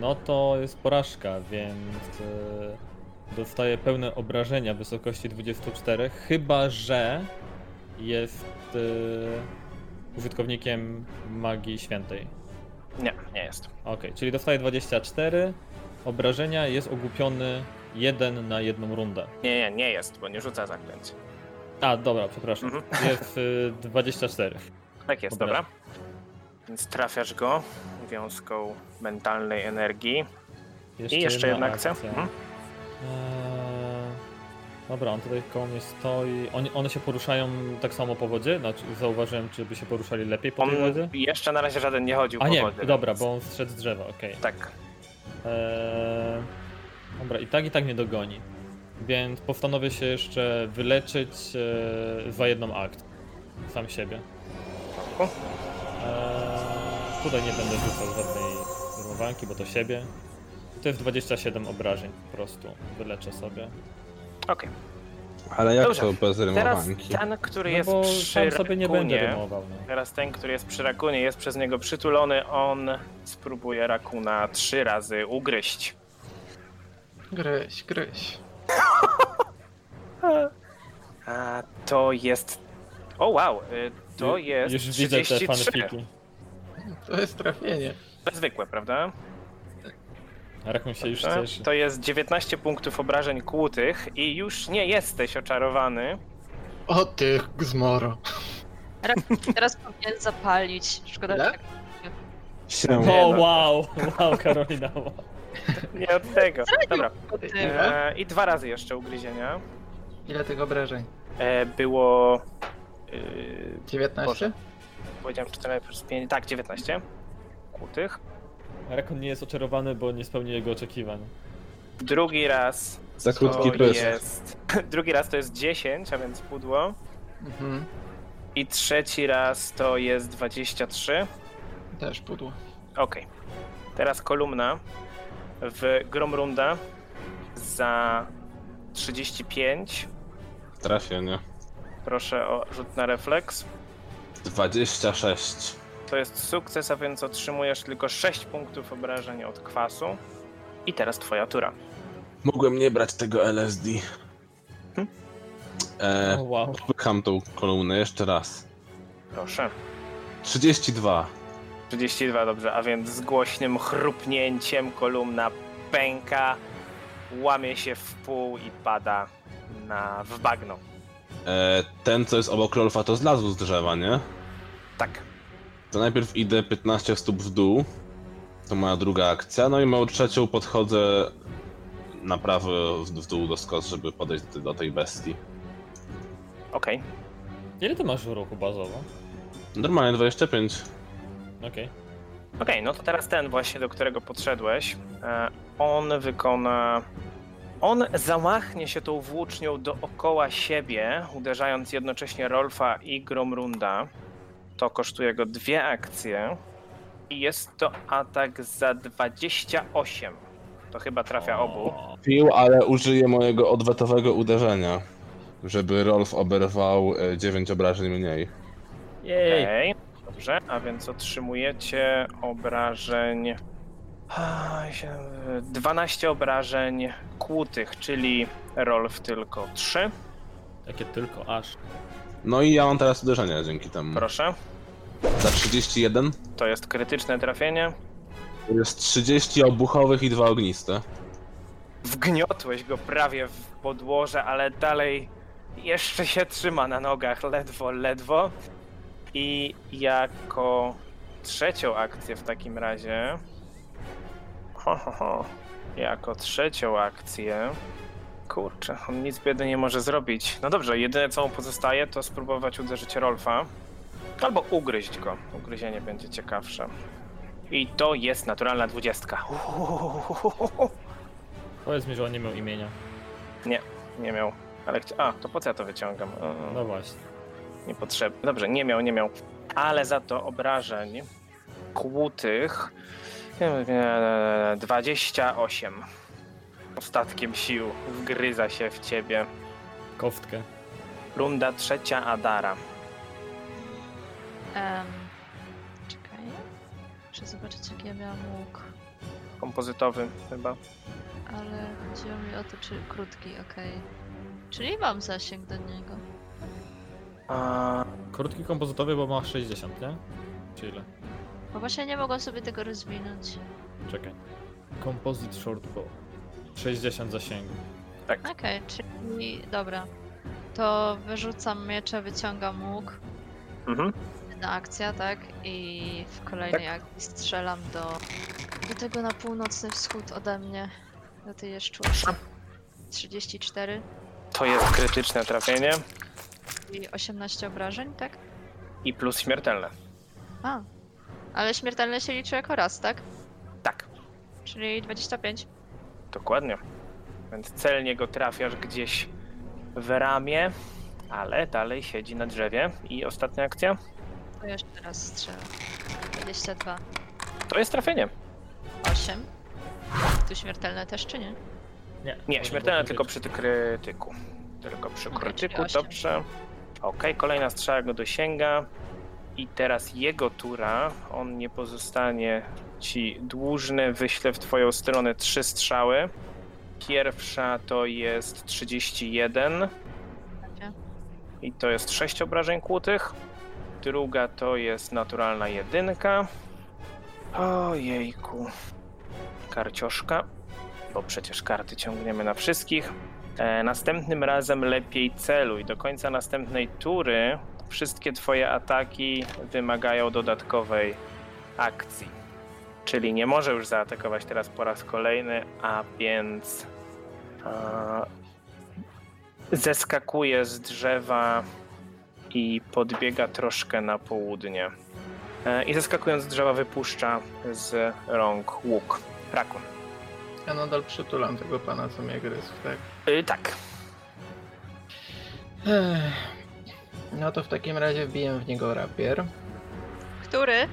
[SPEAKER 1] No to jest porażka, więc e, dostaje pełne obrażenia w wysokości 24, chyba że jest e, użytkownikiem magii świętej.
[SPEAKER 2] Nie, nie jest.
[SPEAKER 1] Okej, czyli dostaje 24 obrażenia, jest ogłupiony 1 na jedną rundę.
[SPEAKER 2] Nie, nie, nie jest, bo nie rzuca tak zaklęć.
[SPEAKER 1] A, dobra, przepraszam. Jest y, 24.
[SPEAKER 2] Tak jest,
[SPEAKER 1] Dobra.
[SPEAKER 2] dobra. Więc trafiasz go wiązką mentalnej energii. I jeszcze jedna akcja. Mhm.
[SPEAKER 1] Eee, dobra, on tutaj koło mnie stoi. Oni, one się poruszają tak samo po wodzie? Znaczy, zauważyłem, czy by się poruszali lepiej po
[SPEAKER 2] On
[SPEAKER 1] tej wodzie?
[SPEAKER 2] jeszcze na razie żaden nie chodził
[SPEAKER 1] A
[SPEAKER 2] po
[SPEAKER 1] nie,
[SPEAKER 2] wodzie.
[SPEAKER 1] dobra,
[SPEAKER 2] więc-
[SPEAKER 1] bo on strzedł z drzewa, okej.
[SPEAKER 2] Tak.
[SPEAKER 1] Eee, dobra, i tak i tak mnie dogoni. Więc postanowię się jeszcze wyleczyć eee, za jedną akt. Sam siebie.
[SPEAKER 2] O.
[SPEAKER 1] Eee, tutaj nie będę rzucał żadnej rymowanki, bo to siebie. To jest 27 obrażeń po prostu. Wyleczę sobie.
[SPEAKER 2] Okej.
[SPEAKER 5] Ale jak
[SPEAKER 2] Dobrze.
[SPEAKER 5] to bez
[SPEAKER 2] Teraz
[SPEAKER 5] rymowanki?
[SPEAKER 2] ten, który
[SPEAKER 1] No
[SPEAKER 2] jest
[SPEAKER 1] bo
[SPEAKER 2] przy
[SPEAKER 1] sam sobie nie będę
[SPEAKER 2] rakunie.
[SPEAKER 1] rymował. No.
[SPEAKER 2] Teraz ten, który jest przy rakunie, jest przez niego przytulony. On spróbuje rakuna trzy razy ugryźć.
[SPEAKER 3] Gryź, gryź.
[SPEAKER 2] A to jest. O wow, y, to
[SPEAKER 1] Ju-
[SPEAKER 2] jest.
[SPEAKER 1] Już widzę te
[SPEAKER 2] 33.
[SPEAKER 1] fanfiki.
[SPEAKER 3] To jest trafienie.
[SPEAKER 2] Zwykłe, prawda?
[SPEAKER 1] Rakun się już
[SPEAKER 2] Dobrze.
[SPEAKER 1] cieszy.
[SPEAKER 2] Tak, To jest 19 punktów obrażeń kłutych i już nie jesteś oczarowany.
[SPEAKER 3] O ty zmoro.
[SPEAKER 4] Teraz powinien zapalić. Szkoda,
[SPEAKER 3] Ile?
[SPEAKER 4] że tak
[SPEAKER 5] Siema.
[SPEAKER 2] Nie,
[SPEAKER 1] O,
[SPEAKER 2] no.
[SPEAKER 1] wow, wow, Karolina, wow.
[SPEAKER 2] Nie od tego. Dobra.
[SPEAKER 4] po tym.
[SPEAKER 3] Ile?
[SPEAKER 2] E, I dwa razy jeszcze ugryzienia.
[SPEAKER 3] Ile tych obrażeń?
[SPEAKER 2] E, było. y,
[SPEAKER 3] 19?
[SPEAKER 2] Boże. powiedziałem 14 plus 5. Tak, 19 kłutych.
[SPEAKER 1] Rakun nie jest oczarowany, bo nie spełni jego oczekiwań.
[SPEAKER 2] Drugi raz
[SPEAKER 5] Za krótki
[SPEAKER 2] to
[SPEAKER 5] pysk.
[SPEAKER 2] jest. Drugi raz to jest 10, a więc pudło.
[SPEAKER 3] Mhm.
[SPEAKER 2] I trzeci raz to jest 23.
[SPEAKER 3] Też pudło.
[SPEAKER 2] Okej. Teraz kolumna w Gromrunda. za 35.
[SPEAKER 5] Trafię, nie?
[SPEAKER 2] Proszę o rzut na refleks.
[SPEAKER 5] 26.
[SPEAKER 2] To jest sukces, a więc otrzymujesz tylko 6 punktów obrażeń od kwasu. I teraz twoja tura.
[SPEAKER 5] Mogłem nie brać tego LSD.
[SPEAKER 2] Hmm?
[SPEAKER 5] E,
[SPEAKER 6] wow.
[SPEAKER 5] popycham tą kolumnę jeszcze raz.
[SPEAKER 2] Proszę.
[SPEAKER 5] 32.
[SPEAKER 2] 32, dobrze, a więc z głośnym chrupnięciem kolumna pęka, łamie się w pół i pada na, w bagno.
[SPEAKER 5] E, ten, co jest obok Rolfa, to zlazł z drzewa, nie?
[SPEAKER 2] Tak,
[SPEAKER 5] To najpierw idę 15 stóp w dół. To moja druga akcja. No i moją trzecią podchodzę na prawo w- w dół do skos, żeby podejść do- do tej bestii.
[SPEAKER 2] okej.
[SPEAKER 6] Ile ty masz ruchu bazowo?
[SPEAKER 5] Normalnie 25.
[SPEAKER 6] Okej.
[SPEAKER 2] Okej, no to teraz ten właśnie, do którego podszedłeś, e, on wykona... On zamachnie się tą włócznią dookoła siebie, uderzając jednocześnie Rolfa i Gromrunda. To kosztuje go dwie akcje i jest to atak za 28. To chyba trafia obu.
[SPEAKER 5] Pił, ale użyję mojego odwetowego uderzenia, żeby Rolf oberwał 9 obrażeń mniej.
[SPEAKER 6] Jej.
[SPEAKER 2] Okej, dobrze, a więc otrzymujecie obrażeń. Ah, się- 12 obrażeń kłutych, czyli Rolf tylko 3.
[SPEAKER 6] Jakie tylko aż.
[SPEAKER 5] No i ja mam teraz uderzenie dzięki temu.
[SPEAKER 2] Proszę,
[SPEAKER 5] Za 31
[SPEAKER 2] to jest krytyczne trafienie.
[SPEAKER 5] to jest 30 obuchowych i dwa ogniste.
[SPEAKER 2] Wgniotłeś go prawie w podłoże, ale dalej jeszcze się trzyma na nogach, ledwo, ledwo. I jako trzecią akcję w takim razie. Ho, ho, ho. Jako trzecią akcję. Kurczę, on nic biedy nie może zrobić. No dobrze, jedyne co mu pozostaje to spróbować uderzyć Rolfa. Albo ugryźć go. Ugryzienie będzie ciekawsze. I to jest naturalna dwudziestka. Uhuhuhuhuhuhu.
[SPEAKER 6] Powiedz mi, że on nie miał imienia.
[SPEAKER 2] Nie miał. Ale chci- A, to po co ja to wyciągam? Yy,
[SPEAKER 6] No właśnie.
[SPEAKER 2] Niepotrzebne. Dobrze, nie miał, nie miał. Ale za to obrażeń kłutych e, 28. Ostatkiem sił wgryza się w ciebie.
[SPEAKER 6] Koftkę.
[SPEAKER 2] Runda trzecia Adara.
[SPEAKER 4] Em, czekaj. Muszę zobaczyć, jak ja miałam łuk.
[SPEAKER 2] Kompozytowy chyba.
[SPEAKER 4] Ale chodziło mi o to, czy krótki, okej. Czyli mam zasięg do niego.
[SPEAKER 2] A,
[SPEAKER 6] Krótki kompozytowy, bo ma 60, nie? Czy ile?
[SPEAKER 4] Bo właśnie nie mogłam sobie tego rozwinąć.
[SPEAKER 6] Czekaj. Composite shortbow. 60 zasięgu.
[SPEAKER 4] Okej, czyli dobra. To wyrzucam miecze, wyciągam łuk.
[SPEAKER 2] mhm.
[SPEAKER 4] Jedna akcja, tak? I w kolejnej akcji strzelam do. do tego na północny wschód ode mnie. Do tej jeszcze 34
[SPEAKER 2] To jest krytyczne trafienie
[SPEAKER 4] i 18 obrażeń, tak?
[SPEAKER 2] i plus śmiertelne.
[SPEAKER 4] A. Ale śmiertelne się liczy jako raz, tak?
[SPEAKER 2] Tak,
[SPEAKER 4] Czyli 25.
[SPEAKER 2] dokładnie. Więc celnie go trafiasz gdzieś w ramię, ale dalej siedzi na drzewie. I ostatnia akcja?
[SPEAKER 4] To jeszcze raz strzelam. 22.
[SPEAKER 2] To jest trafienie.
[SPEAKER 4] 8. Tu śmiertelne też, czy nie?
[SPEAKER 6] Nie.
[SPEAKER 2] Nie, śmiertelne tylko przy krytyku. Tylko przy
[SPEAKER 4] Okej,
[SPEAKER 2] krytyku,
[SPEAKER 4] czyli osiem.
[SPEAKER 2] dobrze. Okej, kolejna strzała go dosięga. I teraz jego tura. On nie pozostanie ci dłużny. Wyślę w twoją stronę trzy strzały. Pierwsza to jest 31
[SPEAKER 4] Trafia.
[SPEAKER 2] i to jest 6 obrażeń kłutych. Druga to jest naturalna jedynka. Ojejku. Karcioszka, bo przecież karty ciągniemy na wszystkich. E, następnym razem lepiej celuj. Do końca następnej tury wszystkie twoje ataki wymagają dodatkowej akcji. Czyli nie może już zaatakować teraz po raz kolejny, a więc e, zeskakuje z drzewa i podbiega troszkę na południe. E, I zeskakując z drzewa wypuszcza z rąk łuk. Rakun.
[SPEAKER 3] Ja nadal przytulam tego pana, co mnie gryzł, tak?
[SPEAKER 2] Y, tak.
[SPEAKER 3] Ech. No to w takim razie wbiję w niego rapier.
[SPEAKER 4] Który?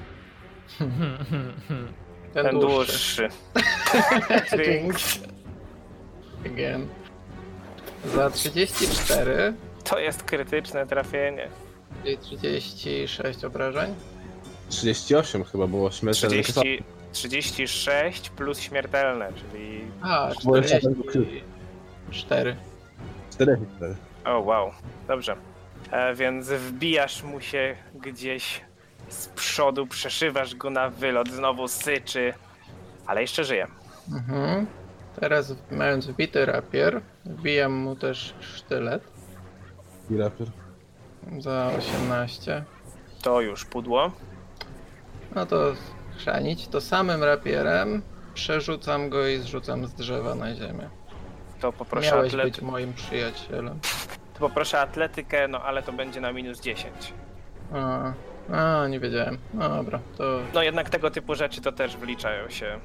[SPEAKER 3] Ten,
[SPEAKER 1] Hmm,
[SPEAKER 2] Ten
[SPEAKER 3] dłuższy.
[SPEAKER 2] dłuższy.
[SPEAKER 3] Jinx. Again. Za 34,
[SPEAKER 2] To jest krytyczne trafienie.
[SPEAKER 3] czyli 36 obrażeń.
[SPEAKER 5] 38 chyba było śmiertelne.
[SPEAKER 2] 30, 36 plus śmiertelne, czyli.
[SPEAKER 3] A,
[SPEAKER 5] Bo jeszcze jeden był
[SPEAKER 3] 44.
[SPEAKER 5] 4 hity.
[SPEAKER 2] O, wow, dobrze. E, więc wbijasz mu się gdzieś z przodu, przeszywasz go na wylot, znowu syczy, ale jeszcze żyje.
[SPEAKER 3] Mhm. Teraz mając wbity rapier, wbijam mu też sztylet
[SPEAKER 5] I rapier.
[SPEAKER 3] za 18.
[SPEAKER 2] To już pudło.
[SPEAKER 3] No to chrzanić, to samym rapierem przerzucam go i zrzucam z drzewa na ziemię.
[SPEAKER 2] To poproszę,
[SPEAKER 3] Miałeś
[SPEAKER 2] atlety-
[SPEAKER 3] być moim przyjacielem.
[SPEAKER 2] to poproszę atletykę, no ale to będzie na minus 10.
[SPEAKER 3] A, a nie wiedziałem. No dobra, to
[SPEAKER 2] No jednak tego typu rzeczy to też wliczają się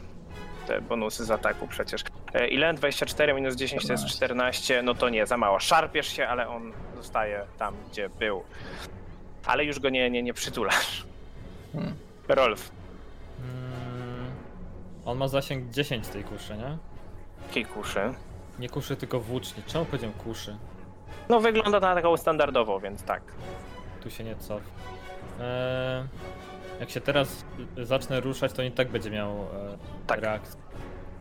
[SPEAKER 2] te bonusy z ataku przecież. E, Ile? 24 minus 10 to jest 14, no to nie, za mało. Szarpiesz się, ale on zostaje tam, gdzie był. Ale już go nie, nie, nie przytulasz.
[SPEAKER 3] Hmm.
[SPEAKER 2] Rolf,
[SPEAKER 1] Mm, on ma zasięg 10 tej kuszy, nie?
[SPEAKER 2] kij kuszy.
[SPEAKER 1] Nie kuszy, tylko włóczni. Czemu powiedziałem kuszy?
[SPEAKER 2] No wygląda to na taką standardową, więc tak.
[SPEAKER 1] Tu się nie cof. Eee, jak się teraz y, zacznę ruszać, to i tak będzie miał e,
[SPEAKER 2] Tak.
[SPEAKER 1] reakcję.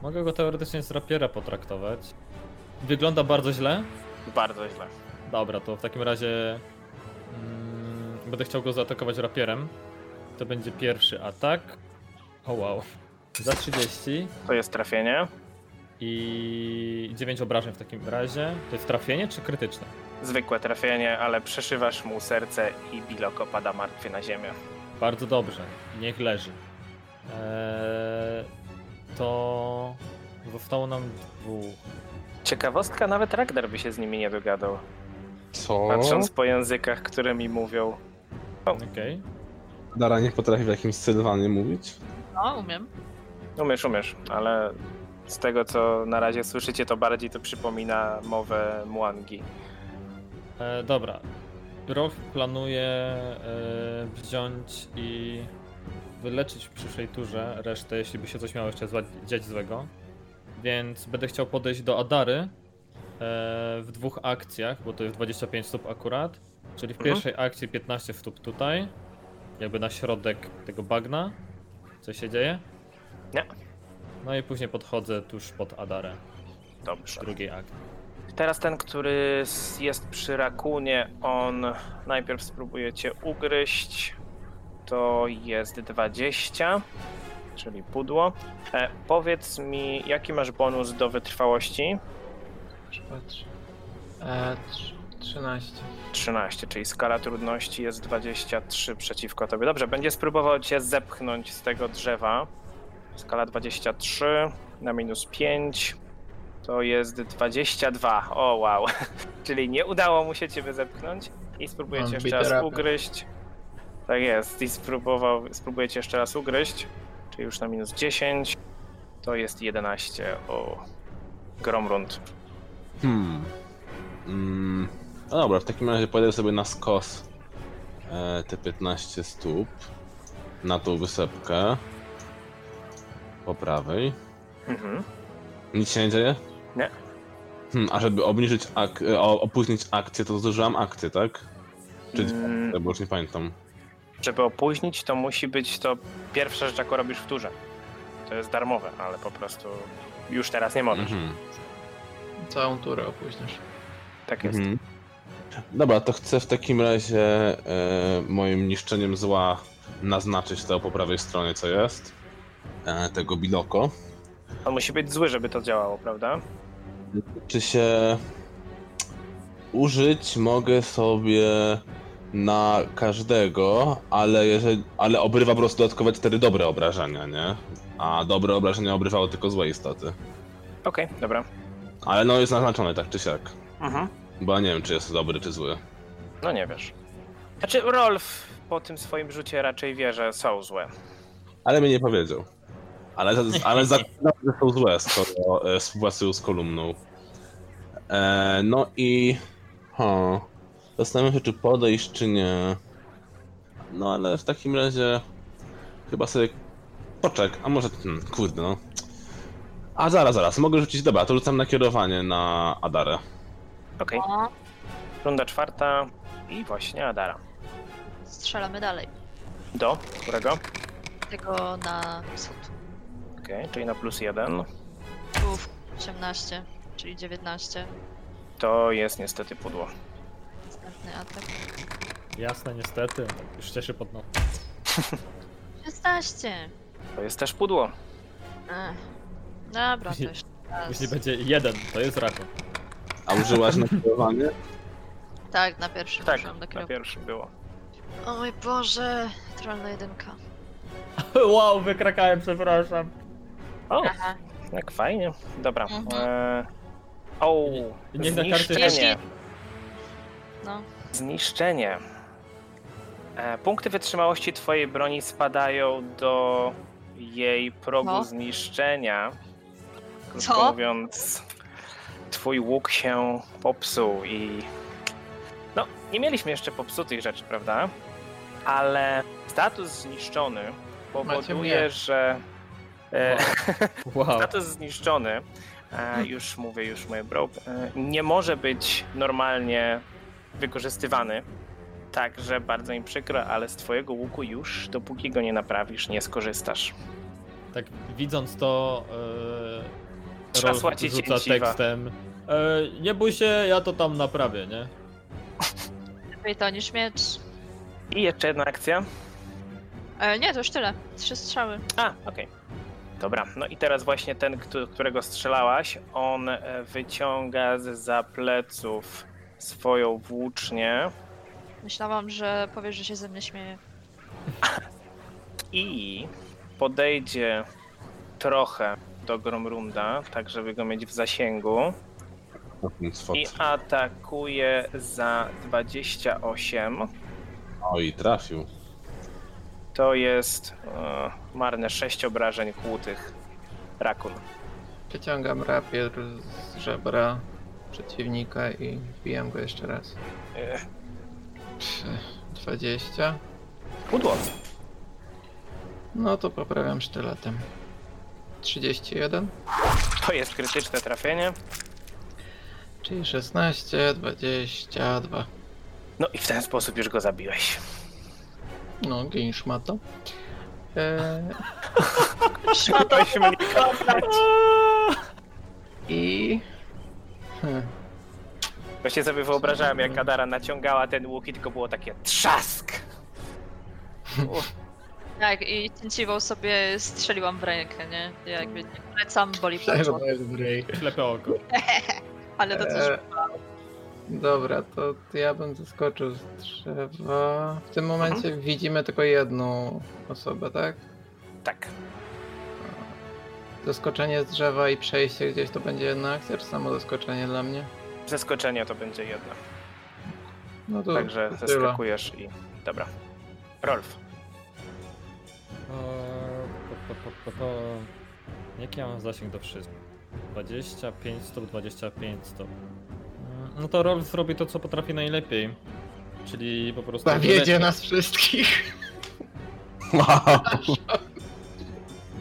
[SPEAKER 1] Mogę go teoretycznie z rapiera potraktować. Wygląda bardzo źle.
[SPEAKER 2] Bardzo źle.
[SPEAKER 1] Dobra, to w takim razie mm, będę chciał go zaatakować rapierem. To będzie pierwszy atak. O wow. Za 30
[SPEAKER 2] To jest trafienie.
[SPEAKER 1] i 9 obrażeń w takim razie. To jest trafienie czy krytyczne?
[SPEAKER 2] Zwykłe trafienie, ale przeszywasz mu serce i Bilok opada martwy na ziemię.
[SPEAKER 1] Bardzo dobrze. Niech leży. Eee, to zostało nam dwóch.
[SPEAKER 2] Ciekawostka, nawet Ragnar by się z nimi nie dogadał.
[SPEAKER 5] Co?
[SPEAKER 2] Patrząc po językach, które mi mówią.
[SPEAKER 1] Okej.
[SPEAKER 5] Dara nie potrafi w jakimś Sylwanie mówić?
[SPEAKER 4] No, umiem.
[SPEAKER 2] Umiesz, umiesz, ale z tego co na razie słyszycie, to bardziej to przypomina mowę Muangi.
[SPEAKER 1] E, dobra. Rolf planuje e, wziąć i wyleczyć w przyszłej turze resztę, jeśli by się coś miało jeszcze zła- dziać złego. Więc będę chciał podejść do Adary e, w dwóch akcjach, bo to jest 25 stóp akurat. Czyli w
[SPEAKER 2] Mhm.
[SPEAKER 1] pierwszej akcji 15 stóp tutaj, jakby na środek tego bagna. Co się dzieje?
[SPEAKER 2] Nie.
[SPEAKER 1] No i później podchodzę tuż pod Adarę
[SPEAKER 2] Dobrze.
[SPEAKER 1] w drugiej akcji.
[SPEAKER 2] Teraz ten, który s- jest przy rakunie, on najpierw spróbuje cię ugryźć. To jest 20, czyli pudło. E, powiedz mi, jaki masz bonus do wytrwałości?
[SPEAKER 3] patrz. E, trz- 13.
[SPEAKER 2] 13, czyli skala trudności jest 23 przeciwko tobie. Dobrze, będzie spróbował cię zepchnąć z tego drzewa. Skala 23 na minus 5 to jest 22. O wow. czyli nie udało mu się ciebie zepchnąć i spróbuję
[SPEAKER 3] Mam
[SPEAKER 2] cię jeszcze
[SPEAKER 3] bite
[SPEAKER 2] raz
[SPEAKER 3] rapy.
[SPEAKER 2] ugryźć. Tak jest, i spróbował, spróbuję cię jeszcze raz ugryźć, czyli już na minus 10. To jest 11. O. Gromrund.
[SPEAKER 5] Hmm. Mm. No dobra, w takim razie pojedę sobie na skos e, te 15 stóp na tą wysepkę po prawej.
[SPEAKER 2] Mhm.
[SPEAKER 5] Nic się nie dzieje?
[SPEAKER 2] Nie.
[SPEAKER 5] Hmm, a żeby obniżyć ak- e, o- opóźnić akcję, to zużyłam akcję, tak? Czy dwie
[SPEAKER 2] Mm.
[SPEAKER 5] akcje, bo już nie pamiętam.
[SPEAKER 2] Żeby opóźnić, to musi być to pierwsza rzecz, jaką robisz w turze. To jest darmowe, ale po prostu już teraz nie możesz.
[SPEAKER 5] Mhm.
[SPEAKER 3] Całą turę opóźnisz.
[SPEAKER 2] Tak jest.
[SPEAKER 5] Mhm. Dobra, to chcę w takim razie e, moim niszczeniem zła naznaczyć to po prawej stronie, co jest. E, tego biloko.
[SPEAKER 2] On musi być zły, żeby to działało, prawda?
[SPEAKER 5] Czy się użyć mogę sobie na każdego, ale jeżeli, ale obrywa po prostu dodatkowe cztery dobre obrażenia, nie? A dobre obrażenia obrywało tylko złe istoty.
[SPEAKER 2] Okej, dobra.
[SPEAKER 5] Ale no jest naznaczone tak czy siak.
[SPEAKER 2] Mhm.
[SPEAKER 5] Bo ja nie wiem, czy jest dobry, czy zły.
[SPEAKER 2] No nie wiesz. Znaczy, Rolf po tym swoim rzucie raczej wie, że są złe.
[SPEAKER 5] Ale mi nie powiedział. Ale, za- ale zakładam, że są złe, skoro e, współpracują z kolumną. E, no i. Hmm, zastanawiam się, czy podejść, czy nie. No ale w takim razie. Chyba sobie. Poczek, a może. Hmm, kurde, no. A zaraz, zaraz, mogę rzucić, dobra, to rzucam nakierowanie na Adarę.
[SPEAKER 2] Okej,
[SPEAKER 4] O,
[SPEAKER 2] runda czwarta i właśnie Adara.
[SPEAKER 4] strzelamy dalej.
[SPEAKER 2] Do którego?
[SPEAKER 4] Tego na wschód.
[SPEAKER 2] Okej, czyli na plus jeden.
[SPEAKER 4] Uf, 18, czyli 19.
[SPEAKER 2] To jest niestety pudło.
[SPEAKER 4] Następny atak.
[SPEAKER 1] Jasne, niestety. Już cieszę pod no.
[SPEAKER 4] 16!
[SPEAKER 2] To jest też pudło. Tak,
[SPEAKER 4] Ech. Dobra, to
[SPEAKER 1] Jeśli-
[SPEAKER 4] jeszcze raz.
[SPEAKER 1] Jeśli będzie jeden, to jest rakun.
[SPEAKER 5] A użyłaś nakierowanie?
[SPEAKER 4] Tak, na pierwszym
[SPEAKER 2] Tak,
[SPEAKER 4] użyłam do
[SPEAKER 2] na
[SPEAKER 4] kierowcy.
[SPEAKER 2] pierwszy było.
[SPEAKER 4] O mój Boże, naturalna jedynka.
[SPEAKER 1] wow, wykrakałem, przepraszam.
[SPEAKER 2] O,
[SPEAKER 4] Aha.
[SPEAKER 2] jak fajnie. Dobra.
[SPEAKER 4] Mhm.
[SPEAKER 2] E... O,
[SPEAKER 1] Nie na karty
[SPEAKER 2] zniszczenie.
[SPEAKER 4] No,
[SPEAKER 2] Zniszczenie. E, punkty wytrzymałości twojej broni spadają do jej progu
[SPEAKER 4] Co?
[SPEAKER 2] zniszczenia. Krótko
[SPEAKER 4] Co?
[SPEAKER 2] mówiąc, twój łuk się popsuł i... No, nie mieliśmy jeszcze popsutych rzeczy, prawda? Ale status zniszczony powoduje,
[SPEAKER 3] mnie.
[SPEAKER 2] że... E,
[SPEAKER 1] Wow.
[SPEAKER 2] Status zniszczony, e, już mówię, już moje bro, e, nie może być normalnie wykorzystywany. Także bardzo mi przykro, ale z twojego łuku już, dopóki go nie naprawisz, nie skorzystasz.
[SPEAKER 1] Tak widząc to, yy,
[SPEAKER 2] Trzeba
[SPEAKER 1] Rolf
[SPEAKER 2] słuchać
[SPEAKER 1] rzuca
[SPEAKER 2] cięciwa.
[SPEAKER 1] tekstem. E, nie bój się, ja to tam naprawię, nie?
[SPEAKER 4] lepiej to niż miecz.
[SPEAKER 2] I jeszcze jedna akcja.
[SPEAKER 4] E, nie, to już tyle. Trzy strzały.
[SPEAKER 2] A, okej. Dobra, no i teraz właśnie ten, któ- którego strzelałaś, on e, wyciąga z za pleców swoją włócznię
[SPEAKER 4] Myślałam, że powiesz, że się ze mnie śmieje.
[SPEAKER 2] i podejdzie trochę do Gromrunda, tak żeby go mieć w zasięgu.
[SPEAKER 5] O, ten swot.
[SPEAKER 2] I atakuje za 28.
[SPEAKER 5] O i trafił.
[SPEAKER 2] To jest e, marne 6 obrażeń kłutych. Rakun.
[SPEAKER 3] Przeciągam rapier z żebra przeciwnika i wbijam go jeszcze raz.
[SPEAKER 2] E,
[SPEAKER 3] Pff, 20.
[SPEAKER 2] Pudło.
[SPEAKER 3] No to poprawiam sztyletem. 31,
[SPEAKER 2] To jest krytyczne trafienie.
[SPEAKER 3] czyli 16, 22.
[SPEAKER 2] No i w ten sposób już go zabiłeś.
[SPEAKER 3] No, gin szmato. E,
[SPEAKER 2] Ktoś mnie
[SPEAKER 3] I... Hmm.
[SPEAKER 2] Właśnie sobie wyobrażałem, jak Kadara naciągała ten łuk i tylko było takie trzask. Uff,
[SPEAKER 4] Tak, i cięciwą sobie strzeliłam w rękę, nie? Ja jakby nie polecam, boli pleczo.
[SPEAKER 1] Ślepe oko.
[SPEAKER 4] Ale to
[SPEAKER 3] E,
[SPEAKER 4] też...
[SPEAKER 3] Dobra, to ja bym zeskoczył z drzewa. W tym momencie
[SPEAKER 2] Mhm.
[SPEAKER 3] widzimy tylko jedną osobę, tak?
[SPEAKER 2] tak.
[SPEAKER 3] Zeskoczenie z drzewa i przejście gdzieś to będzie jedna akcja, czy samo zeskoczenie dla mnie?
[SPEAKER 2] Zeskoczenie to będzie jedno.
[SPEAKER 3] No to
[SPEAKER 2] Także
[SPEAKER 3] to tyle.
[SPEAKER 2] zeskakujesz i... Dobra. Rolf.
[SPEAKER 1] Eee, po, po, po, po, po. Jaki ja mam zasięg do wszystkich? 25 stop, 25 stop. Mm, No to Rolf zrobi to, co potrafi najlepiej. Czyli po prostu.
[SPEAKER 3] Zawiedzie nas wszystkich.
[SPEAKER 5] Wow.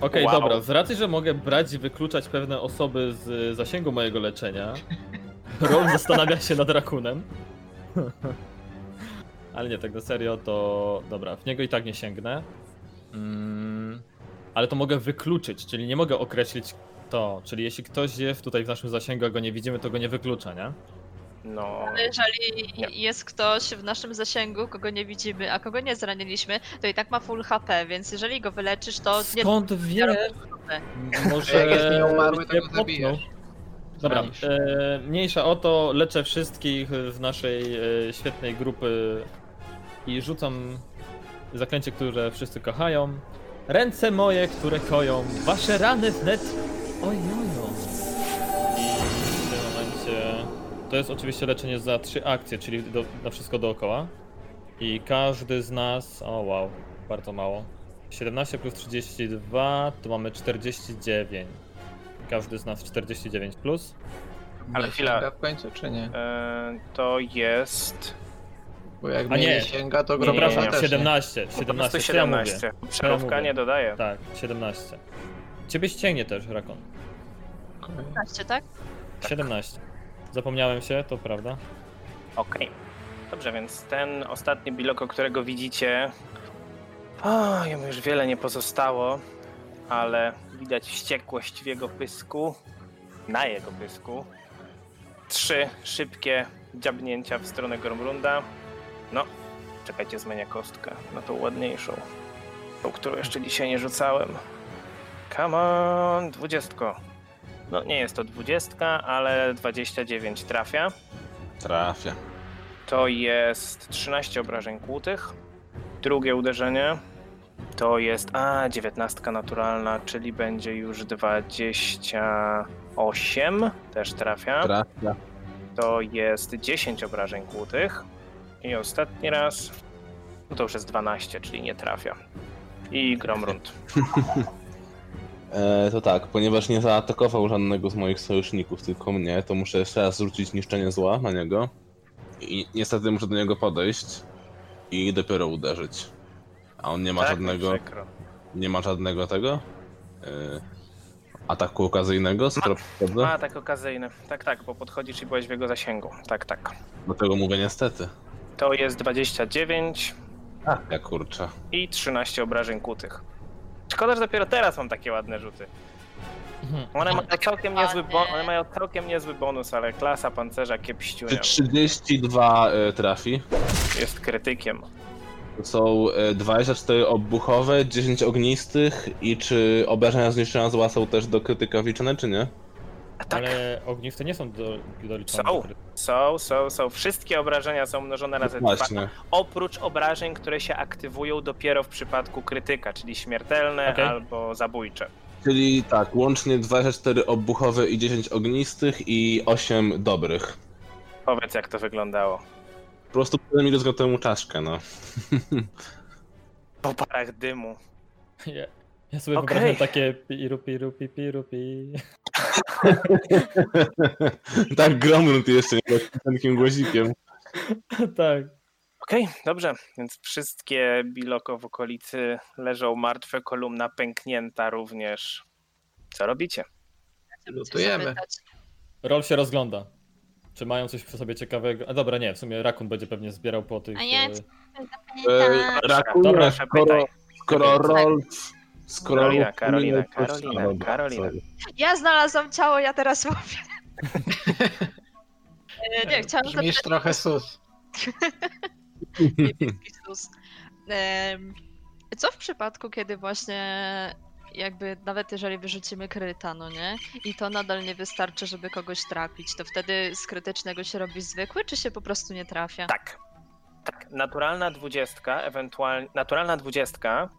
[SPEAKER 1] Okej,
[SPEAKER 2] Wow.
[SPEAKER 1] dobra. Z racji, że mogę brać i wykluczać pewne osoby z y, zasięgu mojego leczenia, Rolf zastanawia się nad rakunem. Ale nie, tak na serio, to dobra, w niego i tak nie sięgnę. Mm, ale to mogę wykluczyć, czyli nie mogę określić to. Czyli jeśli ktoś jest tutaj w naszym zasięgu, a go nie widzimy, to go nie wyklucza, nie?
[SPEAKER 2] No...
[SPEAKER 4] Ale jeżeli
[SPEAKER 2] Nie.
[SPEAKER 4] jest ktoś w naszym zasięgu, kogo nie widzimy, a kogo nie zraniliśmy, to i tak ma full HP, więc jeżeli go wyleczysz, to nie...
[SPEAKER 1] Skąd wie? Może
[SPEAKER 3] A jak jest nieumarły, to
[SPEAKER 1] nie
[SPEAKER 3] go
[SPEAKER 1] popchnął.
[SPEAKER 3] zabijesz.
[SPEAKER 1] Dobra,
[SPEAKER 3] Zranisz.
[SPEAKER 1] e, mniejsza o to, leczę wszystkich w naszej e, świetnej grupy i rzucam zaklęcie, które wszyscy kochają. Ręce moje, które koją, wasze rany wnet ojojo. I w tym momencie to jest oczywiście leczenie za trzy akcje, czyli do, na wszystko dookoła. I każdy z nas, o wow, bardzo mało. 17 plus 32 to mamy 49. Każdy z nas 49 plus.
[SPEAKER 2] Ale
[SPEAKER 3] Nie
[SPEAKER 2] chwila.
[SPEAKER 3] sięga w końcu, czy nie?
[SPEAKER 2] E, to jest...
[SPEAKER 3] Bo jak
[SPEAKER 1] A
[SPEAKER 3] mnie
[SPEAKER 1] nie.
[SPEAKER 3] nie sięga, to
[SPEAKER 1] Nie,
[SPEAKER 3] grobrasa
[SPEAKER 1] Przepraszam,
[SPEAKER 3] też
[SPEAKER 1] 17,
[SPEAKER 2] Po prostu
[SPEAKER 1] 17, 17
[SPEAKER 2] 17.
[SPEAKER 1] ja mówię.
[SPEAKER 2] Przelówka nie dodaje.
[SPEAKER 1] Tak, 17. Ciebie ścięgnie też, Rakon.
[SPEAKER 3] Okej.
[SPEAKER 4] 15, tak?
[SPEAKER 6] 17. Zapomniałem się, to prawda.
[SPEAKER 2] Okej. Dobrze, więc ten ostatni biloko, którego widzicie. O, jemu już wiele nie pozostało, ale widać wściekłość w jego pysku. Na jego pysku. Trzy szybkie dziabnięcia w stronę Gormrunda. No, czekajcie, zmienię kostkę na tą ładniejszą. Tą, którą jeszcze dzisiaj nie rzucałem. Come on, dwudziestko. No, nie jest to dwudziestka, ale 29 trafia.
[SPEAKER 5] Trafia.
[SPEAKER 2] To jest 13 obrażeń kłutych. Drugie uderzenie to jest. A, 19 naturalna, czyli będzie już 28. Też trafia.
[SPEAKER 5] Trafia.
[SPEAKER 2] To jest 10 obrażeń kłutych. I ostatni raz. No to już jest 12, czyli nie trafia. I Gromrund.
[SPEAKER 5] E, to tak, ponieważ nie zaatakował żadnego z moich sojuszników, tylko mnie, to muszę jeszcze raz rzucić niszczenie zła na niego. I niestety muszę do niego podejść i dopiero uderzyć. A on nie ma
[SPEAKER 2] Tak mi
[SPEAKER 5] żadnego.
[SPEAKER 2] przykro.
[SPEAKER 5] Nie ma żadnego tego. E, ataku okazyjnego, skoro podchodzę.
[SPEAKER 2] A, tak okazyjny. Tak, tak, bo podchodzisz i byłeś w jego zasięgu. Tak, tak.
[SPEAKER 5] Dlatego mówię niestety.
[SPEAKER 2] To jest 29.
[SPEAKER 5] Ja kurczę.
[SPEAKER 2] i 13 obrażeń kłutych. Szkoda, że dopiero teraz mam takie ładne rzuty. Mhm. One mają całkiem niezły, bo- one mają całkiem niezły bonus, ale klasa pancerza
[SPEAKER 5] Czy
[SPEAKER 2] kiepściunia
[SPEAKER 5] 32 e, trafi?
[SPEAKER 2] jest krytykiem.
[SPEAKER 5] To są e, 24 obuchowe, 10 ognistych i czy obrażenia zniszczenia zła są też do krytyka wliczone, czy nie?
[SPEAKER 2] A tak,
[SPEAKER 6] Ale ogniwce nie są do, doliczone.
[SPEAKER 2] Są.
[SPEAKER 6] do kryty-
[SPEAKER 2] są, są, są. Wszystkie obrażenia są mnożone razy dwa,
[SPEAKER 5] Właśnie.
[SPEAKER 2] oprócz obrażeń, które się aktywują dopiero w przypadku krytyka, czyli śmiertelne
[SPEAKER 6] Okej.
[SPEAKER 2] albo zabójcze.
[SPEAKER 5] Czyli tak, łącznie 24 obuchowe i 10 ognistych i 8 dobrych.
[SPEAKER 2] Powiedz, jak to wyglądało.
[SPEAKER 5] Po prostu mi rozgrał temu czaszkę, no.
[SPEAKER 2] Po parach dymu.
[SPEAKER 6] Ja, ja sobie
[SPEAKER 2] Okej.
[SPEAKER 6] wyobrażam takie piru, piru, pi, piru, pi.
[SPEAKER 5] tak Gromlund jeszcze nie był takim głozikiem.
[SPEAKER 6] tak.
[SPEAKER 2] Okej, dobrze. Więc wszystkie biloko w okolicy leżą martwe, kolumna pęknięta również. Co robicie?
[SPEAKER 4] Chcemy cię
[SPEAKER 3] Lutujemy.
[SPEAKER 4] zapytać.
[SPEAKER 6] Rol się rozgląda. Czy mają coś przy sobie ciekawego? A dobra, nie, w sumie Rakun będzie pewnie zbierał po tych.
[SPEAKER 4] A ja-
[SPEAKER 6] e,
[SPEAKER 4] Tak.
[SPEAKER 5] E, Rakun,
[SPEAKER 6] Dobra,
[SPEAKER 5] skoro, skoro Rolf... Skoro
[SPEAKER 2] Karolina,
[SPEAKER 5] Rolf-
[SPEAKER 2] Karolina,
[SPEAKER 5] to-
[SPEAKER 2] Karolina,
[SPEAKER 5] a, dobra,
[SPEAKER 2] Karolina.
[SPEAKER 5] sorry.
[SPEAKER 4] Ja znalazłam ciało, ja teraz mówię. E, nie, chciałam
[SPEAKER 3] Brzmisz
[SPEAKER 4] zapytać
[SPEAKER 3] trochę sus.
[SPEAKER 4] niebieski sus. Em, Co w przypadku, kiedy właśnie jakby nawet jeżeli wyrzucimy kryta, no nie? I to nadal nie wystarczy, żeby kogoś trafić, to wtedy z krytycznego się robi zwykły, czy się po prostu nie trafia?
[SPEAKER 2] Tak. Tak. Naturalna dwudziestka, ewentualnie. Naturalna dwudziestka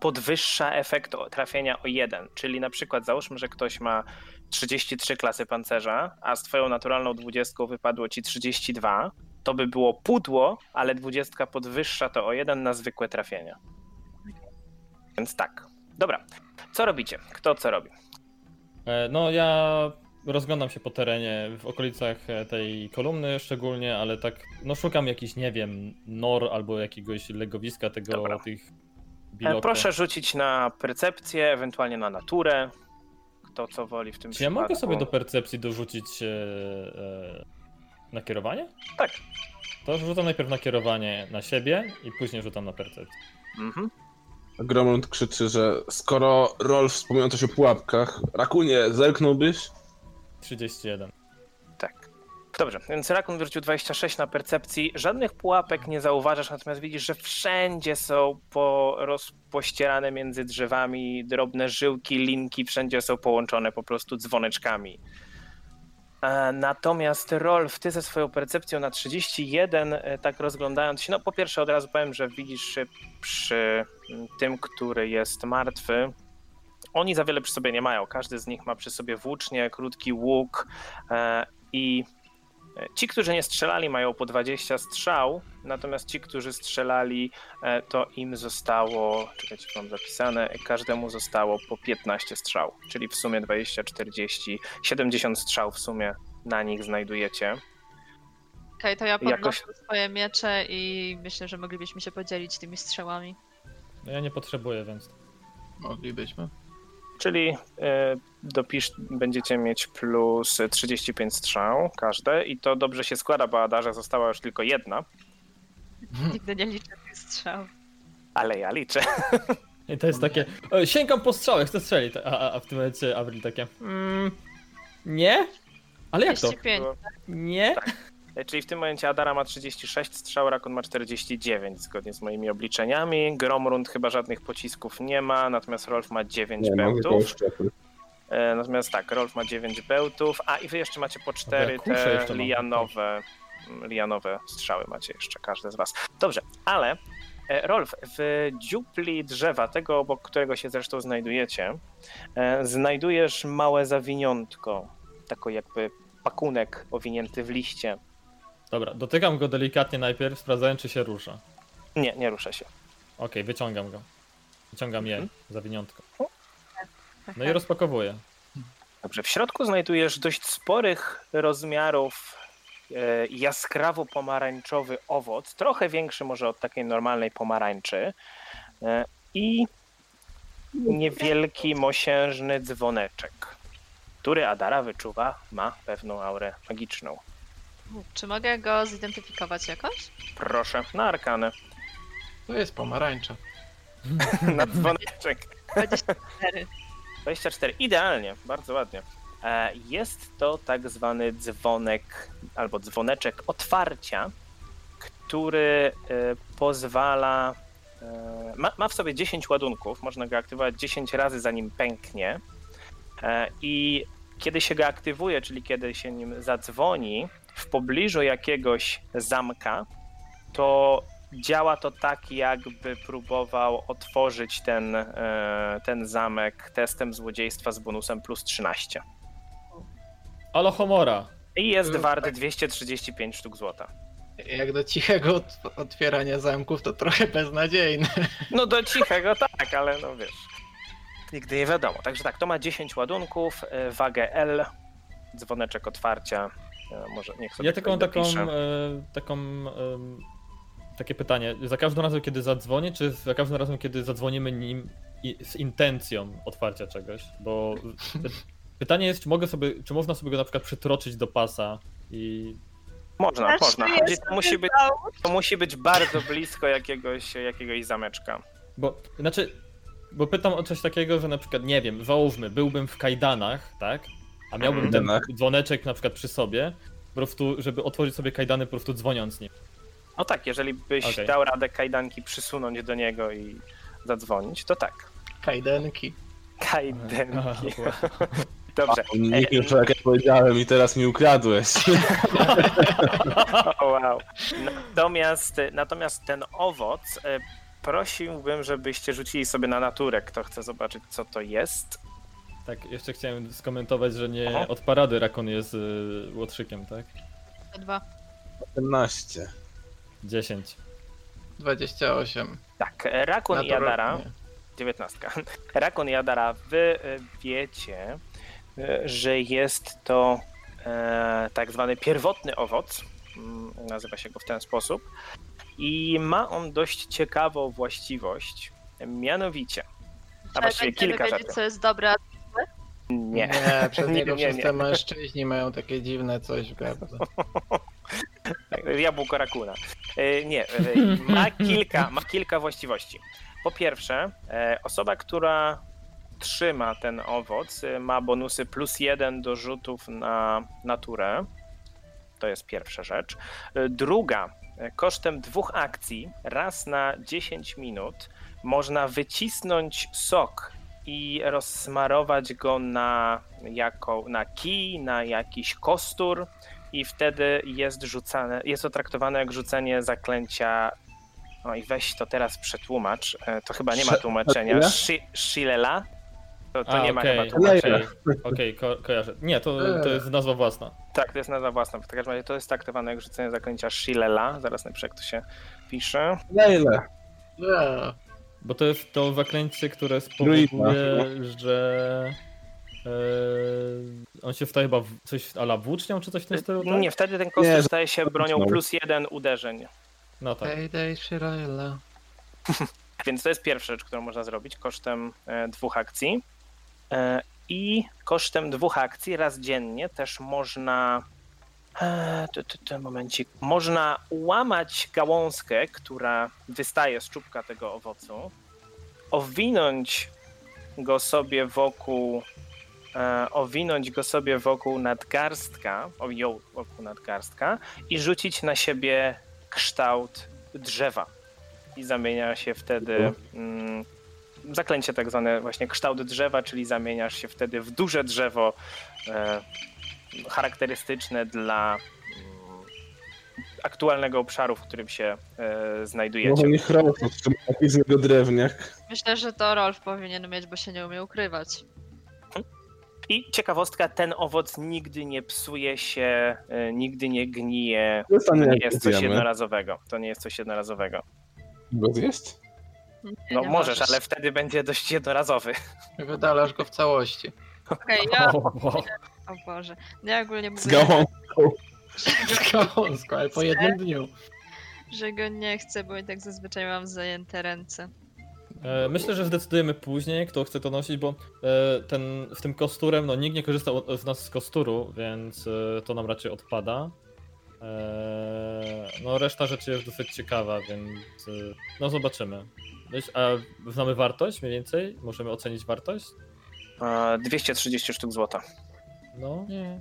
[SPEAKER 2] podwyższa efekt o- trafienia o jeden. Czyli na przykład załóżmy, że ktoś ma 33 klasy pancerza, a z twoją naturalną dwudziestką wypadło ci 32. To by było pudło, ale dwudziestka podwyższa to o jeden na zwykłe trafienia. Więc tak. Dobra. Co robicie? Kto co robi?
[SPEAKER 6] e, No ja rozglądam się po terenie, w okolicach e, tej kolumny szczególnie, ale tak, no szukam jakichś, nie wiem, nor albo jakiegoś legowiska tego,
[SPEAKER 2] Dobra.
[SPEAKER 6] tych
[SPEAKER 2] E,
[SPEAKER 6] biloko.
[SPEAKER 2] Proszę rzucić na percepcję, ewentualnie na naturę. Kto co woli w tym
[SPEAKER 6] Czy ja
[SPEAKER 2] przypadku.
[SPEAKER 6] mogę sobie do percepcji dorzucić e, e, nakierowanie?
[SPEAKER 2] Tak.
[SPEAKER 6] To rzucam najpierw nakierowanie na siebie i później rzucam na percepcję.
[SPEAKER 2] Mhm.
[SPEAKER 5] Gromlund krzyczy, że skoro Rolf wspomniał coś o pułapkach, Rakunie, zerknąłbyś?
[SPEAKER 6] 31.
[SPEAKER 2] Tak. Dobrze, więc Rakun wyrzucił 26 na percepcji. Żadnych pułapek nie zauważasz, natomiast widzisz, że wszędzie są po rozpościerane między drzewami drobne żyłki, linki, wszędzie są połączone po prostu dzwoneczkami. E, Natomiast Rolf, ty ze swoją percepcją na 31, e, tak rozglądając się, no po pierwsze od razu powiem, że widzisz e, przy m, tym, który jest martwy, oni za wiele przy sobie nie mają. Każdy z nich ma przy sobie włócznie, krótki łuk, E, I e, ci, którzy nie strzelali, mają po 20 strzał, natomiast ci, którzy strzelali, e, to im zostało, czekajcie, mam zapisane, każdemu zostało po 15 strzał, czyli w sumie 20, 40, 70 strzał w sumie na nich znajdujecie.
[SPEAKER 4] Okej, to ja podnoszę
[SPEAKER 2] Jakoś-
[SPEAKER 4] swoje miecze i myślę, że moglibyśmy się podzielić tymi strzałami.
[SPEAKER 6] No ja nie potrzebuję, więc
[SPEAKER 3] Moglibyśmy.
[SPEAKER 2] Czyli e, dopisz, będziecie mieć plus 35 strzał każde i to dobrze się składa, bo Adarze została już tylko jedna, Mhm.
[SPEAKER 4] Nigdy nie liczę tych strzał.
[SPEAKER 2] ale ja liczę.
[SPEAKER 1] I to jest takie. E, sięgam po strzałę, chcę strzelić. A, a, a w tym momencie Avril takie. Mm, nie? Ale jak to?
[SPEAKER 4] 35.
[SPEAKER 1] Nie?
[SPEAKER 2] E, Czyli w tym momencie Adara ma 36 strzał, Rakon ma 49 zgodnie z moimi obliczeniami. Gromrund chyba żadnych pocisków nie ma, natomiast Rolf ma 9
[SPEAKER 5] Nie, mam tylko
[SPEAKER 2] bełtów.
[SPEAKER 5] szczepy.
[SPEAKER 2] E, Natomiast tak, Rolf ma 9 bełtów, a i wy jeszcze macie po 4
[SPEAKER 1] kuszę
[SPEAKER 2] te
[SPEAKER 1] jeszcze mam,
[SPEAKER 2] lianowe, mm, lianowe strzały macie jeszcze, każdy z was. Dobrze, ale e, Rolf, w dziupli drzewa, tego obok którego się zresztą znajdujecie, e, znajdujesz małe zawiniątko, taką jakby pakunek owinięty w liście.
[SPEAKER 1] Dobra, dotykam go delikatnie najpierw, sprawdzając czy się rusza. Okej,
[SPEAKER 2] Nie, nie rusza się.
[SPEAKER 1] wyciągam go. Wyciągam je, zawiniątko. No i
[SPEAKER 4] Aha.
[SPEAKER 1] rozpakowuję.
[SPEAKER 2] Dobrze, w środku znajdujesz dość sporych rozmiarów e, jaskrawo pomarańczowy owoc, trochę większy może od takiej normalnej pomarańczy e, i niewielki mosiężny dzwoneczek, który Adara wyczuwa, ma pewną aurę magiczną.
[SPEAKER 4] Czy mogę go zidentyfikować jakoś?
[SPEAKER 2] Proszę, na arkanę,
[SPEAKER 3] To jest pomarańcza.
[SPEAKER 2] na dzwoneczek.
[SPEAKER 4] 24.
[SPEAKER 2] 24, idealnie, bardzo ładnie. E, Jest to tak zwany dzwonek albo dzwoneczek otwarcia, który e, pozwala. e, Ma, ma w sobie 10 ładunków, można go aktywować 10 razy zanim pęknie. E, I kiedy się go aktywuje, czyli kiedy się nim zadzwoni w pobliżu jakiegoś zamka, to działa to tak, jakby próbował otworzyć ten, e, ten zamek testem złodziejstwa z bonusem plus 13.
[SPEAKER 1] Alohomora!
[SPEAKER 2] I jest
[SPEAKER 1] tak.
[SPEAKER 3] Mm,
[SPEAKER 2] wart 235 sztuk złota.
[SPEAKER 3] Jak do cichego otw- otwierania zamków, to trochę beznadziejne.
[SPEAKER 2] No do cichego tak, ale no wiesz. Nigdy nie wiadomo. Także tak, to ma 10 ładunków, e, wagę L, dzwoneczek otwarcia. e, Może niech sobie
[SPEAKER 1] Ja tylko mam
[SPEAKER 2] ktoś
[SPEAKER 1] taką,
[SPEAKER 2] dopisze.
[SPEAKER 1] e, taką, e, takie pytanie. Za każdym razem, kiedy zadzwonię, czy za każdym razem, kiedy zadzwonimy nim i, z intencją otwarcia czegoś? Bo py- pytanie jest, czy, mogę sobie, czy można sobie go na przykład przytroczyć do pasa i...
[SPEAKER 2] Można,
[SPEAKER 4] Aż
[SPEAKER 2] No, można.
[SPEAKER 4] tu
[SPEAKER 2] Chodzi,
[SPEAKER 4] jest
[SPEAKER 2] to, musi być,
[SPEAKER 4] dał.
[SPEAKER 2] to musi być bardzo blisko jakiegoś, jakiegoś zameczka.
[SPEAKER 1] Bo, znaczy, bo pytam o coś takiego, że na przykład, nie wiem, załóżmy, byłbym w kajdanach, tak? A miałbym ten
[SPEAKER 5] Kajdanach.
[SPEAKER 1] dzwoneczek na przykład przy sobie, po prostu, żeby otworzyć sobie kajdany po prostu dzwoniąc nim.
[SPEAKER 2] No tak, jeżeli byś
[SPEAKER 1] Okej.
[SPEAKER 2] dał radę kajdanki przysunąć do niego i zadzwonić, to tak.
[SPEAKER 3] Kajdenki.
[SPEAKER 1] Aha,
[SPEAKER 2] Kajdanki.
[SPEAKER 1] wow.
[SPEAKER 2] Dobrze. E,
[SPEAKER 5] Nikt już jak ja powiedziałem i teraz mi ukradłeś.
[SPEAKER 2] O, no, wow. Natomiast, e, natomiast ten owoc e, prosiłbym, żebyście rzucili sobie na naturę, kto chce zobaczyć, co to jest.
[SPEAKER 1] Tak, jeszcze chciałem skomentować, że nie
[SPEAKER 2] Aha.
[SPEAKER 1] od parady Rakon jest y, łotrzykiem, tak?
[SPEAKER 4] Dwa.
[SPEAKER 5] 14.
[SPEAKER 1] 10.
[SPEAKER 3] 28.
[SPEAKER 2] Tak, e, Rakun i Adara.
[SPEAKER 3] Naturalnie.
[SPEAKER 2] 19. Rakon Jadara, wy e, wiecie, e, że jest to e, tak zwany pierwotny owoc. Mm, Nazywa się go w ten sposób. I ma on dość ciekawą właściwość. Mianowicie. A właściwie
[SPEAKER 4] będziemy
[SPEAKER 2] kilka
[SPEAKER 4] tak, wiedzieć,
[SPEAKER 2] rzeczy.
[SPEAKER 4] co jest dobre, a
[SPEAKER 2] Nie.
[SPEAKER 3] Nie, przez
[SPEAKER 2] Nie,
[SPEAKER 3] niego
[SPEAKER 2] nie,
[SPEAKER 3] wszyscy
[SPEAKER 2] nie.
[SPEAKER 3] mężczyźni mają takie dziwne coś w gardle.
[SPEAKER 2] Jabłko rakuna. E, Nie, e, ma kilka, ma kilka właściwości. Po pierwsze, e, osoba, która trzyma ten owoc, e, ma bonusy plus jeden do rzutów na naturę. To jest pierwsza rzecz. E, Druga, e, kosztem dwóch akcji, raz na 10 minut, można wycisnąć sok i rozsmarować go na, jako, na kij, na jakiś kostur i wtedy jest rzucane, jest to traktowane jak rzucenie zaklęcia. No i weź to teraz przetłumacz. E, To chyba nie ma
[SPEAKER 5] Sze-
[SPEAKER 2] tłumaczenia.
[SPEAKER 5] ile?
[SPEAKER 2] Shi- Shilela? To, to
[SPEAKER 1] A,
[SPEAKER 2] nie ma
[SPEAKER 1] okej.
[SPEAKER 2] chyba Eee. tłumaczenia.
[SPEAKER 5] Leila.
[SPEAKER 1] Okej, ko kojarzę. Nie, to, to jest nazwa własna.
[SPEAKER 2] Tak, to jest nazwa własna. W każdym razie to jest traktowane jak rzucenie zaklęcia Shilela. Zaraz napiszę, jak to się pisze.
[SPEAKER 5] Lejle.
[SPEAKER 3] Eee,
[SPEAKER 1] Bo to jest to zaklęcie, które
[SPEAKER 5] Druida.
[SPEAKER 1] spowoduje, że... e, on się staje chyba w- coś ala włócznią czy coś w tym stylu, tak?
[SPEAKER 2] Nie, wtedy ten kostek
[SPEAKER 5] Nie,
[SPEAKER 2] staje się bronią
[SPEAKER 5] znowu.
[SPEAKER 2] plus jeden uderzeń.
[SPEAKER 1] No tak.
[SPEAKER 3] Payday Shirella.
[SPEAKER 2] Więc to jest pierwsza rzecz, którą można zrobić kosztem e, dwóch akcji. E, I kosztem dwóch akcji raz dziennie też można. e, tu, tu, tu, Momencik. Można łamać gałązkę, która wystaje z czubka tego owocu, owinąć go sobie wokół, e, owinąć go sobie wokół nadgarstka, o, ją wokół nadgarstka i rzucić na siebie kształt drzewa. I zamienia się wtedy mm, zaklęcie tak zwane właśnie kształt drzewa, czyli zamieniasz się wtedy w duże drzewo e, charakterystyczne dla mm, aktualnego obszaru, w którym się e, znajdujecie.
[SPEAKER 5] No nie chrapnął, to jakiś z niego drewniak.
[SPEAKER 4] Myślę, że to Rolf powinien mieć, bo się nie umie ukrywać.
[SPEAKER 2] I ciekawostka, ten owoc nigdy nie psuje się, e, nigdy nie gnije.
[SPEAKER 5] Zostanie
[SPEAKER 2] To nie
[SPEAKER 5] jak
[SPEAKER 2] jest coś
[SPEAKER 5] zjemy.
[SPEAKER 2] jednorazowego. To nie jest coś jednorazowego.
[SPEAKER 5] Go zjeść?
[SPEAKER 4] Nie,
[SPEAKER 2] No
[SPEAKER 4] nie
[SPEAKER 2] możesz, ale wtedy będzie dość jednorazowy.
[SPEAKER 3] Wydalasz go w całości.
[SPEAKER 4] Okej, ja... O Boże. No Ja ogólnie
[SPEAKER 5] Z
[SPEAKER 4] mówię,
[SPEAKER 5] gałą.
[SPEAKER 3] Gałązko, ale po jednym dniu.
[SPEAKER 4] że go nie chcę, bo i tak zazwyczaj mam zajęte ręce.
[SPEAKER 1] E, myślę, że zdecydujemy później, kto chce to nosić, bo e, ten, w tym kosturem, no nikt nie korzystał od- z nas z kosturu, więc e, to nam raczej odpada. E, no reszta rzeczy jest dosyć ciekawa, więc e, no zobaczymy. Myśl- A znamy wartość mniej więcej? Możemy ocenić wartość?
[SPEAKER 2] E, 230 sztuk złota.
[SPEAKER 1] No.
[SPEAKER 3] Nie,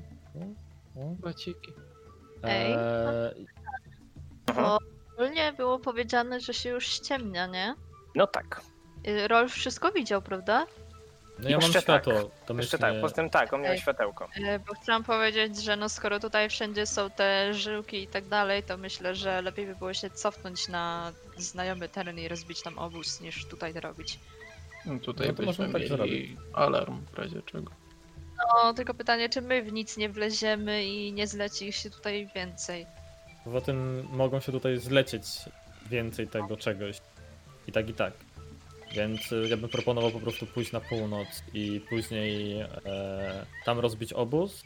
[SPEAKER 1] no.
[SPEAKER 3] baciki.
[SPEAKER 4] Ej.
[SPEAKER 1] E,
[SPEAKER 4] Ogólnie było powiedziane, że się już ściemnia, nie?
[SPEAKER 2] No tak.
[SPEAKER 4] Y, Rolf wszystko widział, prawda?
[SPEAKER 1] no ja mam
[SPEAKER 2] Jeszcze tak.
[SPEAKER 1] światło, to
[SPEAKER 2] Jeszcze
[SPEAKER 1] myślę.
[SPEAKER 2] tak, poza tym tak, on miał
[SPEAKER 4] Ej.
[SPEAKER 2] światełko.
[SPEAKER 4] Y, Bo chciałam powiedzieć, że no skoro tutaj wszędzie są te żyłki i tak dalej, to myślę, że lepiej by było się cofnąć na znajomy teren i rozbić tam obóz, niż tutaj to robić.
[SPEAKER 3] No tutaj
[SPEAKER 1] No to
[SPEAKER 3] byśmy
[SPEAKER 1] możemy tak
[SPEAKER 3] mieli alarm w razie czego.
[SPEAKER 4] No, tylko pytanie, czy my w nic nie wleziemy i nie zleci się tutaj więcej.
[SPEAKER 1] Poza tym mogą się tutaj zlecieć więcej tego czegoś. I tak, i tak. Więc y, ja bym proponował po prostu pójść na północ i później e, tam rozbić obóz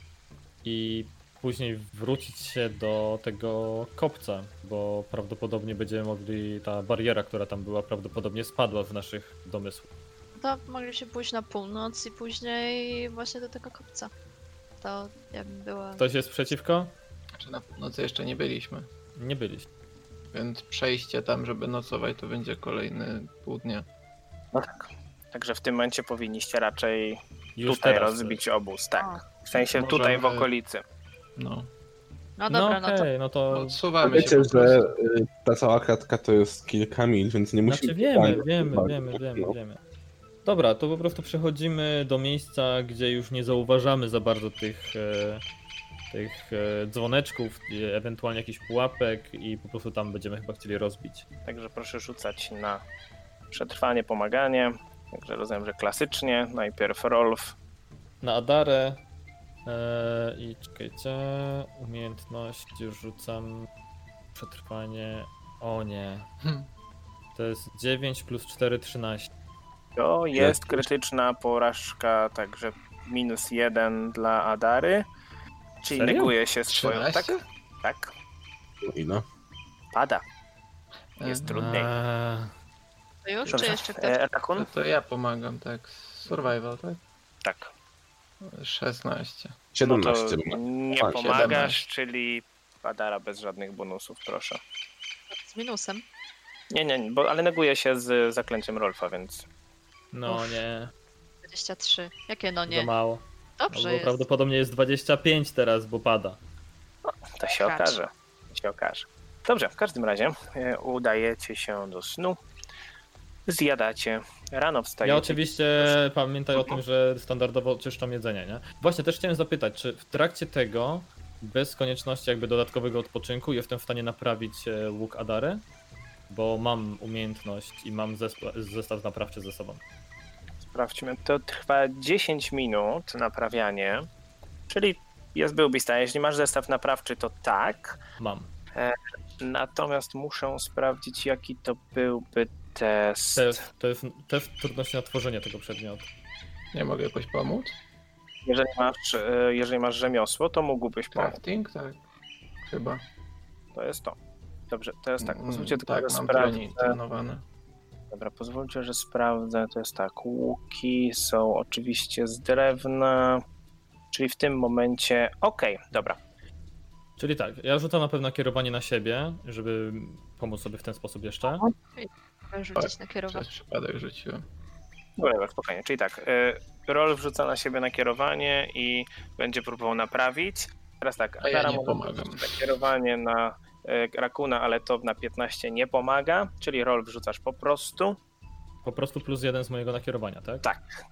[SPEAKER 1] i później wrócić się do tego kopca, bo prawdopodobnie będziemy mogli, ta bariera, która tam była, prawdopodobnie spadła w naszych domysłach.
[SPEAKER 4] No To mogliśmy pójść na północ i później właśnie do tego kopca. To ja bym była...
[SPEAKER 1] Ktoś jest przeciwko?
[SPEAKER 3] Znaczy na północy jeszcze nie byliśmy,
[SPEAKER 1] Nie byliście.
[SPEAKER 3] więc przejście tam, żeby nocować, to będzie kolejny pół dnia.
[SPEAKER 2] No tak. Także w tym momencie powinniście raczej
[SPEAKER 1] Już
[SPEAKER 2] tutaj
[SPEAKER 1] teraz.
[SPEAKER 2] rozbić obóz, tak.
[SPEAKER 4] O,
[SPEAKER 2] W sensie
[SPEAKER 3] Możemy-
[SPEAKER 2] tutaj w okolicy.
[SPEAKER 3] No.
[SPEAKER 4] no
[SPEAKER 1] No
[SPEAKER 4] dobra, no, to...
[SPEAKER 1] okej, no to...
[SPEAKER 3] Odsuwamy się
[SPEAKER 5] Wiecie,
[SPEAKER 3] po
[SPEAKER 5] że
[SPEAKER 3] prostu.
[SPEAKER 5] y, ta cała kratka to jest kilka mil, więc nie musimy...
[SPEAKER 1] Znaczy wiemy,
[SPEAKER 5] Tak,
[SPEAKER 1] wiemy,
[SPEAKER 5] tak,
[SPEAKER 1] wiemy,
[SPEAKER 5] tak,
[SPEAKER 1] wiemy,
[SPEAKER 5] no.
[SPEAKER 1] wiemy. Dobra, to po prostu przechodzimy do miejsca, gdzie już nie zauważamy za bardzo tych, e, tych e, dzwoneczków, e, ewentualnie jakichś pułapek i po prostu tam będziemy chyba chcieli rozbić.
[SPEAKER 2] Także proszę rzucać na przetrwanie, pomaganie. Także rozumiem, że klasycznie. Najpierw Rolf.
[SPEAKER 1] Na Adarę e, i czekajcie, umiejętność, już rzucam przetrwanie, o nie,
[SPEAKER 3] Hmm.
[SPEAKER 1] to jest 9 plus 4, 13.
[SPEAKER 2] To jest krytyczna porażka, także minus jeden dla Adary. Czyli
[SPEAKER 1] Serio?
[SPEAKER 2] neguje się swoją. Tak,
[SPEAKER 3] 13?
[SPEAKER 2] tak.
[SPEAKER 5] No i no.
[SPEAKER 2] Pada. Jest
[SPEAKER 3] E,
[SPEAKER 2] trudniej.
[SPEAKER 1] Eee,
[SPEAKER 4] to już, czy
[SPEAKER 2] Dobrze.
[SPEAKER 4] jeszcze ktoś?
[SPEAKER 2] E,
[SPEAKER 3] To,
[SPEAKER 2] Rakun?
[SPEAKER 3] no to ja pomagam, tak. Survival, tak?
[SPEAKER 2] Tak.
[SPEAKER 3] 16.
[SPEAKER 2] No to
[SPEAKER 5] 17 no
[SPEAKER 2] nie
[SPEAKER 5] Tak,
[SPEAKER 2] pomagasz,
[SPEAKER 3] 17.
[SPEAKER 2] czyli Adara bez żadnych bonusów, proszę.
[SPEAKER 4] Z minusem.
[SPEAKER 2] Nie, nie, nie, bo, ale neguje się z zaklęciem Rolfa, więc
[SPEAKER 1] no
[SPEAKER 4] Uff,
[SPEAKER 1] nie,
[SPEAKER 4] 23. Jakie no
[SPEAKER 1] za
[SPEAKER 4] nie?
[SPEAKER 1] mało. No,
[SPEAKER 4] Dobrze
[SPEAKER 1] bo
[SPEAKER 4] jest.
[SPEAKER 1] prawdopodobnie jest 25 teraz, bo pada.
[SPEAKER 2] to się
[SPEAKER 4] Gracz.
[SPEAKER 2] okaże. To się okaże. Dobrze, w każdym razie e, udajecie się do snu, zjadacie, rano wstajecie.
[SPEAKER 1] Ja oczywiście pamiętaj o tym, że standardowo oczyszczam jedzenie, nie? Właśnie też chciałem zapytać, czy w trakcie tego, bez konieczności jakby dodatkowego odpoczynku, jestem w stanie naprawić e, łuk Adary? Bo mam umiejętność i mam zespa- zestaw naprawczy ze sobą.
[SPEAKER 2] Sprawdźmy, to trwa 10 minut naprawianie, czyli jest byłby stan. Jeśli masz zestaw naprawczy, to tak.
[SPEAKER 1] Mam.
[SPEAKER 2] Natomiast muszę sprawdzić, jaki to byłby test.
[SPEAKER 1] To jest, to jest, to jest trudność na tworzenie tego przedmiotu.
[SPEAKER 3] Nie mogę jakoś pomóc?
[SPEAKER 2] Jeżeli masz, e, jeżeli masz rzemiosło, to mógłbyś pomóc.
[SPEAKER 3] Crafting, tak. Chyba.
[SPEAKER 2] To jest to. Dobrze, to jest tak.
[SPEAKER 3] Mm,
[SPEAKER 2] Pozwólcie tylko
[SPEAKER 3] tak,
[SPEAKER 2] tak,
[SPEAKER 3] mam
[SPEAKER 2] sprawdzić.
[SPEAKER 3] trening trenowane.
[SPEAKER 2] Dobra, pozwólcie, że sprawdzę. To jest tak, łuki są oczywiście z drewna, czyli w tym momencie... Okej, dobra.
[SPEAKER 1] Czyli tak, ja rzucam na pewno kierowanie na siebie, żeby pomóc sobie w ten sposób jeszcze.
[SPEAKER 4] Trzeba rzucić na kierowanie.
[SPEAKER 3] Przez przypadek rzuciłem.
[SPEAKER 2] Dobra, dobra, spokojnie. Czyli tak, y, Rol wrzuca na siebie nakierowanie i będzie próbował naprawić. Teraz tak,
[SPEAKER 3] A ja
[SPEAKER 2] Adara
[SPEAKER 3] nie
[SPEAKER 2] może
[SPEAKER 3] pomagam.
[SPEAKER 2] wrzucić Nakierowanie na y, Rakuna, ale to na 15 nie pomaga, czyli Rol wrzucasz po prostu.
[SPEAKER 1] Po prostu plus jeden z mojego nakierowania, tak?
[SPEAKER 2] Tak.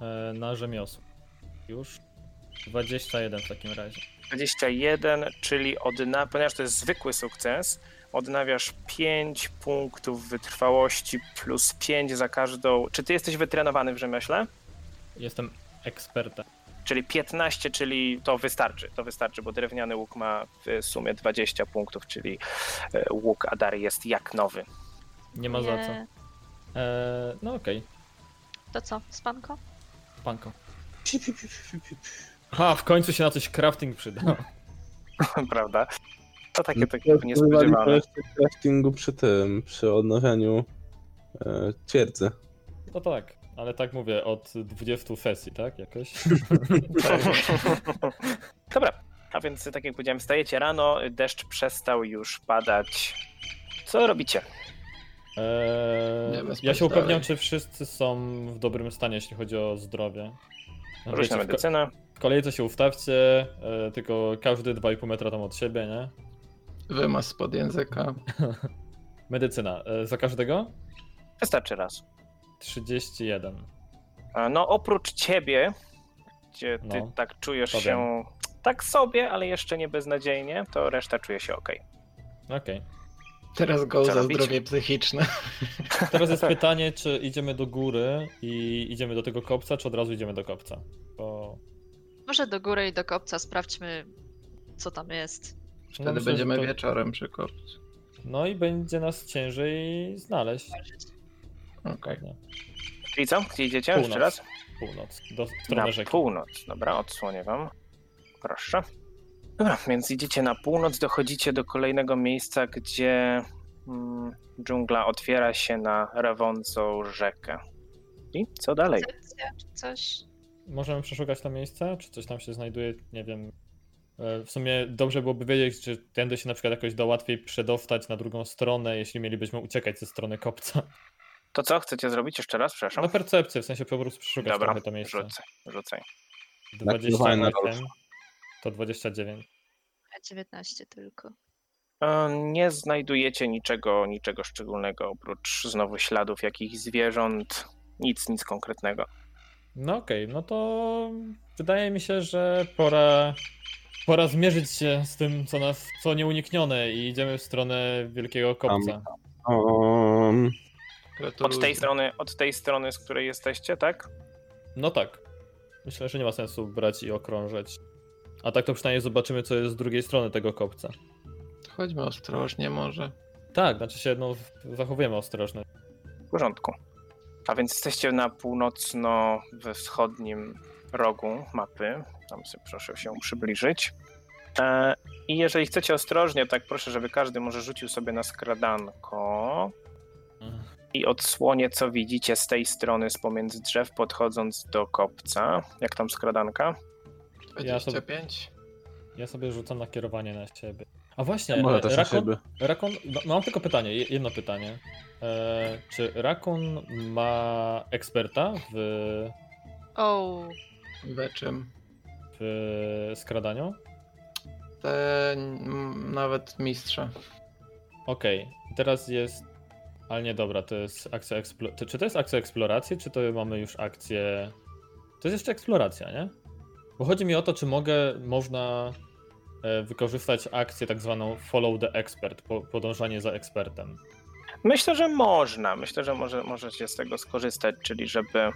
[SPEAKER 1] E, na rzemiosło. Już. 21 w takim razie.
[SPEAKER 2] 21, czyli odna- ponieważ to jest zwykły sukces, odnawiasz 5 punktów wytrwałości plus 5 za każdą. Czy ty jesteś wytrenowany w rzemiośle?
[SPEAKER 1] Jestem ekspertem.
[SPEAKER 2] Czyli 15, czyli to wystarczy. To wystarczy, bo drewniany łuk ma w sumie 20 punktów, czyli e, łuk Adary jest jak nowy.
[SPEAKER 1] Nie ma za co.
[SPEAKER 4] Nie.
[SPEAKER 1] E, no okej,
[SPEAKER 4] To co, spanko?
[SPEAKER 1] panko. Ha, w końcu się na coś crafting przyda.
[SPEAKER 2] Prawda? To takie,
[SPEAKER 5] No
[SPEAKER 2] takie
[SPEAKER 5] to używali
[SPEAKER 2] niespodziewane.
[SPEAKER 5] wreszcie craftingu przy tym, przy odnawianiu e, twierdzy.
[SPEAKER 1] No tak, ale tak mówię, od 20 sesji, tak? Jakoś?
[SPEAKER 2] Dobra, a więc tak jak powiedziałem, stajecie rano, deszcz przestał już padać. Co robicie?
[SPEAKER 1] Eee,
[SPEAKER 3] Nie,
[SPEAKER 1] ja
[SPEAKER 3] bez
[SPEAKER 1] się
[SPEAKER 3] podstawy.
[SPEAKER 1] upewniam, czy wszyscy są w dobrym stanie, jeśli chodzi o zdrowie. No,
[SPEAKER 2] Różna
[SPEAKER 1] Wiecie, w, ko-
[SPEAKER 2] medycyna.
[SPEAKER 1] w kolejce się ustawcie, e, tylko każdy 2,5 metra tam od siebie, nie?
[SPEAKER 3] Wymaz spod języka.
[SPEAKER 1] Medycyna. E, za każdego?
[SPEAKER 2] Wystarczy raz.
[SPEAKER 1] 31.
[SPEAKER 2] A No, oprócz ciebie, gdzie ty
[SPEAKER 1] No,
[SPEAKER 2] tak czujesz
[SPEAKER 1] to
[SPEAKER 2] się tak sobie, ale jeszcze nie beznadziejnie, to reszta czuje się ok.
[SPEAKER 1] Okej.
[SPEAKER 3] Teraz
[SPEAKER 2] Co
[SPEAKER 3] go za
[SPEAKER 2] robicie?
[SPEAKER 3] zdrowie psychiczne.
[SPEAKER 1] Teraz jest pytanie, czy idziemy do góry i idziemy do tego kopca, czy od razu idziemy do kopca? Bo...
[SPEAKER 4] Może do góry i do kopca sprawdźmy, co tam jest.
[SPEAKER 1] no
[SPEAKER 3] Wtedy
[SPEAKER 1] myślę, że
[SPEAKER 3] będziemy
[SPEAKER 1] to-
[SPEAKER 3] wieczorem przy kopcu.
[SPEAKER 1] No i będzie nas ciężej znaleźć.
[SPEAKER 3] Okej.
[SPEAKER 1] Dokładnie.
[SPEAKER 2] Czyli co? Gdzie idziecie? Jeszcze raz?
[SPEAKER 1] Północ. Północ. Do strony
[SPEAKER 2] na
[SPEAKER 1] rzeki.
[SPEAKER 2] północ. Dobra, odsłonię wam. Proszę. Dobra, więc idziecie na północ, dochodzicie do kolejnego miejsca, gdzie mm, dżungla otwiera się na rewącą rzekę. I co dalej?
[SPEAKER 4] Recepcja czy coś?
[SPEAKER 1] Możemy przeszukać to miejsce? Czy coś tam się znajduje? Nie wiem. E, W sumie dobrze byłoby wiedzieć, czy tędy się na przykład jakoś da łatwiej przedostać na drugą stronę, jeśli mielibyśmy uciekać ze strony kopca.
[SPEAKER 2] To co chcecie zrobić jeszcze raz? Przepraszam.
[SPEAKER 1] Na percepcję, w sensie po prostu przeszukać
[SPEAKER 2] Dobra,
[SPEAKER 1] trochę No, to miejsce.
[SPEAKER 2] rzucaj, rzucaj.
[SPEAKER 5] Nakierowanie na
[SPEAKER 1] 28 to 29.
[SPEAKER 4] Ja 19 tylko.
[SPEAKER 2] E, Nie znajdujecie niczego, niczego szczególnego, oprócz znowu śladów jakichś zwierząt. Nic, nic konkretnego.
[SPEAKER 1] No okej, no to wydaje mi się, że pora, pora zmierzyć się z tym, co nas, co nieuniknione i idziemy w stronę Wielkiego Kopca.
[SPEAKER 5] Um,
[SPEAKER 3] Gratuluję.
[SPEAKER 2] Od tej strony, od tej strony, z której jesteście, tak?
[SPEAKER 1] No tak. Myślę, że nie ma sensu brać i okrążać. A tak to przynajmniej zobaczymy, co jest z drugiej strony tego kopca.
[SPEAKER 3] Chodźmy ostrożnie może.
[SPEAKER 1] Tak, znaczy się, no, zachowujemy ostrożnie.
[SPEAKER 2] W porządku. A więc jesteście na północno-wschodnim rogu mapy. Tam sobie proszę się przybliżyć. E, I jeżeli chcecie ostrożnie, tak proszę, żeby każdy może rzucił sobie na skradanko. i odsłonie, co widzicie z tej strony, z pomiędzy drzew, podchodząc do kopca. Jak tam skradanka?
[SPEAKER 1] Ja to-
[SPEAKER 3] 25?
[SPEAKER 1] Ja sobie rzucam na kierowanie na siebie. A właśnie,
[SPEAKER 5] może
[SPEAKER 1] e,
[SPEAKER 5] też na
[SPEAKER 1] Rakon,
[SPEAKER 5] siebie.
[SPEAKER 1] Rakon, no, mam tylko pytanie, je- jedno pytanie. E, czy Rakon ma eksperta w,
[SPEAKER 4] O,
[SPEAKER 3] We czym?
[SPEAKER 1] w e, skradaniu?
[SPEAKER 3] Te, m, nawet mistrza.
[SPEAKER 1] Okej, teraz jest. Ale nie dobra, to jest akcja eksplo... Czy- Czy to jest akcja eksploracji, czy to mamy już akcję. To jest jeszcze eksploracja, nie? Bo chodzi mi o to, czy mogę, można e, wykorzystać akcję tak zwaną follow the expert, po, podążanie za ekspertem.
[SPEAKER 2] Myślę, że można. Myślę, że może, możecie z tego skorzystać, czyli żeby.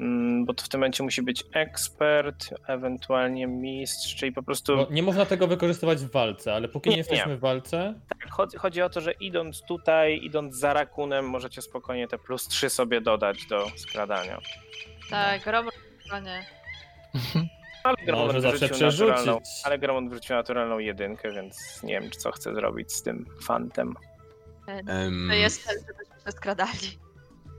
[SPEAKER 2] mm, Bo to w tym momencie musi być ekspert, ewentualnie mistrz, czyli po prostu.
[SPEAKER 1] No, nie można tego wykorzystywać w walce, ale póki nie,
[SPEAKER 2] Nie, nie.
[SPEAKER 1] jesteśmy w walce,
[SPEAKER 2] tak, chodzi, chodzi o to, że idąc tutaj, idąc za rakunem, możecie spokojnie te plus 3 sobie dodać do skradania.
[SPEAKER 4] tak, Robert, panie.
[SPEAKER 2] Ale
[SPEAKER 1] Może
[SPEAKER 2] Gromon
[SPEAKER 1] zawsze
[SPEAKER 2] wrzucił naturalną,
[SPEAKER 1] przerzucić.
[SPEAKER 2] ale Gromon wrzucił naturalną jedynkę, więc nie wiem, co chce zrobić z tym fantem.
[SPEAKER 5] Em, Mm.
[SPEAKER 4] To jest cel, żebyśmy się skradali.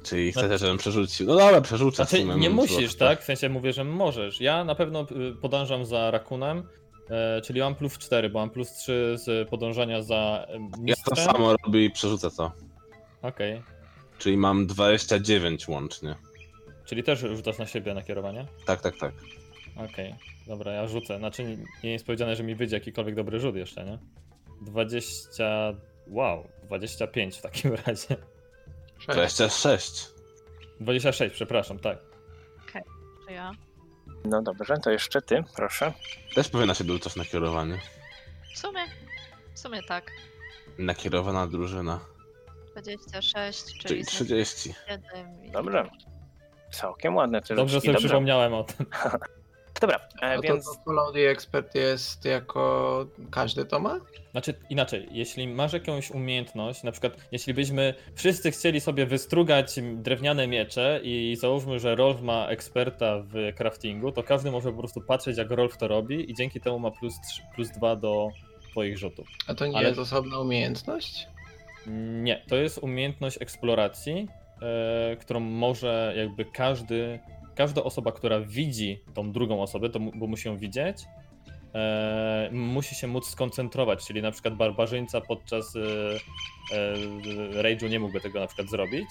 [SPEAKER 5] Czyli chcecie, żebym przerzucił. No dobra, przerzucę. w
[SPEAKER 1] Znaczy,
[SPEAKER 5] sumie,
[SPEAKER 1] nie
[SPEAKER 5] no,
[SPEAKER 1] musisz,
[SPEAKER 5] to-
[SPEAKER 1] tak? W sensie mówię, że możesz. Ja na pewno y, podążam za rakunem, e, czyli mam plus 4, bo mam plus 3 z podążania za e, mistrzem.
[SPEAKER 5] Ja to samo robię i przerzucę to.
[SPEAKER 1] Okej,
[SPEAKER 5] Czyli mam 29 łącznie.
[SPEAKER 1] czyli też rzucasz na siebie nakierowanie?
[SPEAKER 5] Tak, tak, tak.
[SPEAKER 1] Okej, dobra, ja rzucę. Znaczy, nie jest powiedziane, że mi wyjdzie jakikolwiek dobry rzut jeszcze, nie? 20... wow, 25 w takim razie. Tak.
[SPEAKER 3] Sześć.
[SPEAKER 5] 26.
[SPEAKER 1] 26, przepraszam, tak.
[SPEAKER 4] To ja.
[SPEAKER 2] No dobrze, to jeszcze ty, proszę.
[SPEAKER 5] Też powinna się dorzucać nakierowanie.
[SPEAKER 4] W sumie, w sumie tak.
[SPEAKER 5] Nakierowana drużyna.
[SPEAKER 4] 26, czyli
[SPEAKER 5] Czyli 30.
[SPEAKER 4] 7.
[SPEAKER 2] Dobrze. Całkiem ładne te
[SPEAKER 1] Dobrze
[SPEAKER 2] rzuczki,
[SPEAKER 1] sobie przypomniałem o tym.
[SPEAKER 2] Dobra, e,
[SPEAKER 3] No to,
[SPEAKER 2] więc
[SPEAKER 3] to Cloud Expert jest jako... Każdy to ma?
[SPEAKER 1] Znaczy inaczej, jeśli masz jakąś umiejętność, na przykład jeśli byśmy wszyscy chcieli sobie wystrugać drewniane miecze i załóżmy, że Rolf ma eksperta w craftingu, to każdy może po prostu patrzeć jak Rolf to robi i dzięki temu ma plus, trz- plus dwa do twoich rzutów.
[SPEAKER 3] A to nie
[SPEAKER 1] Ale-
[SPEAKER 3] jest osobna umiejętność?
[SPEAKER 1] Nie, to jest umiejętność eksploracji, e, którą może jakby każdy, każda osoba, która widzi tą drugą osobę, to mu, bo musi ją widzieć, e, musi się móc skoncentrować, czyli na przykład barbarzyńca podczas e, e, rage'u nie mógłby tego na przykład zrobić,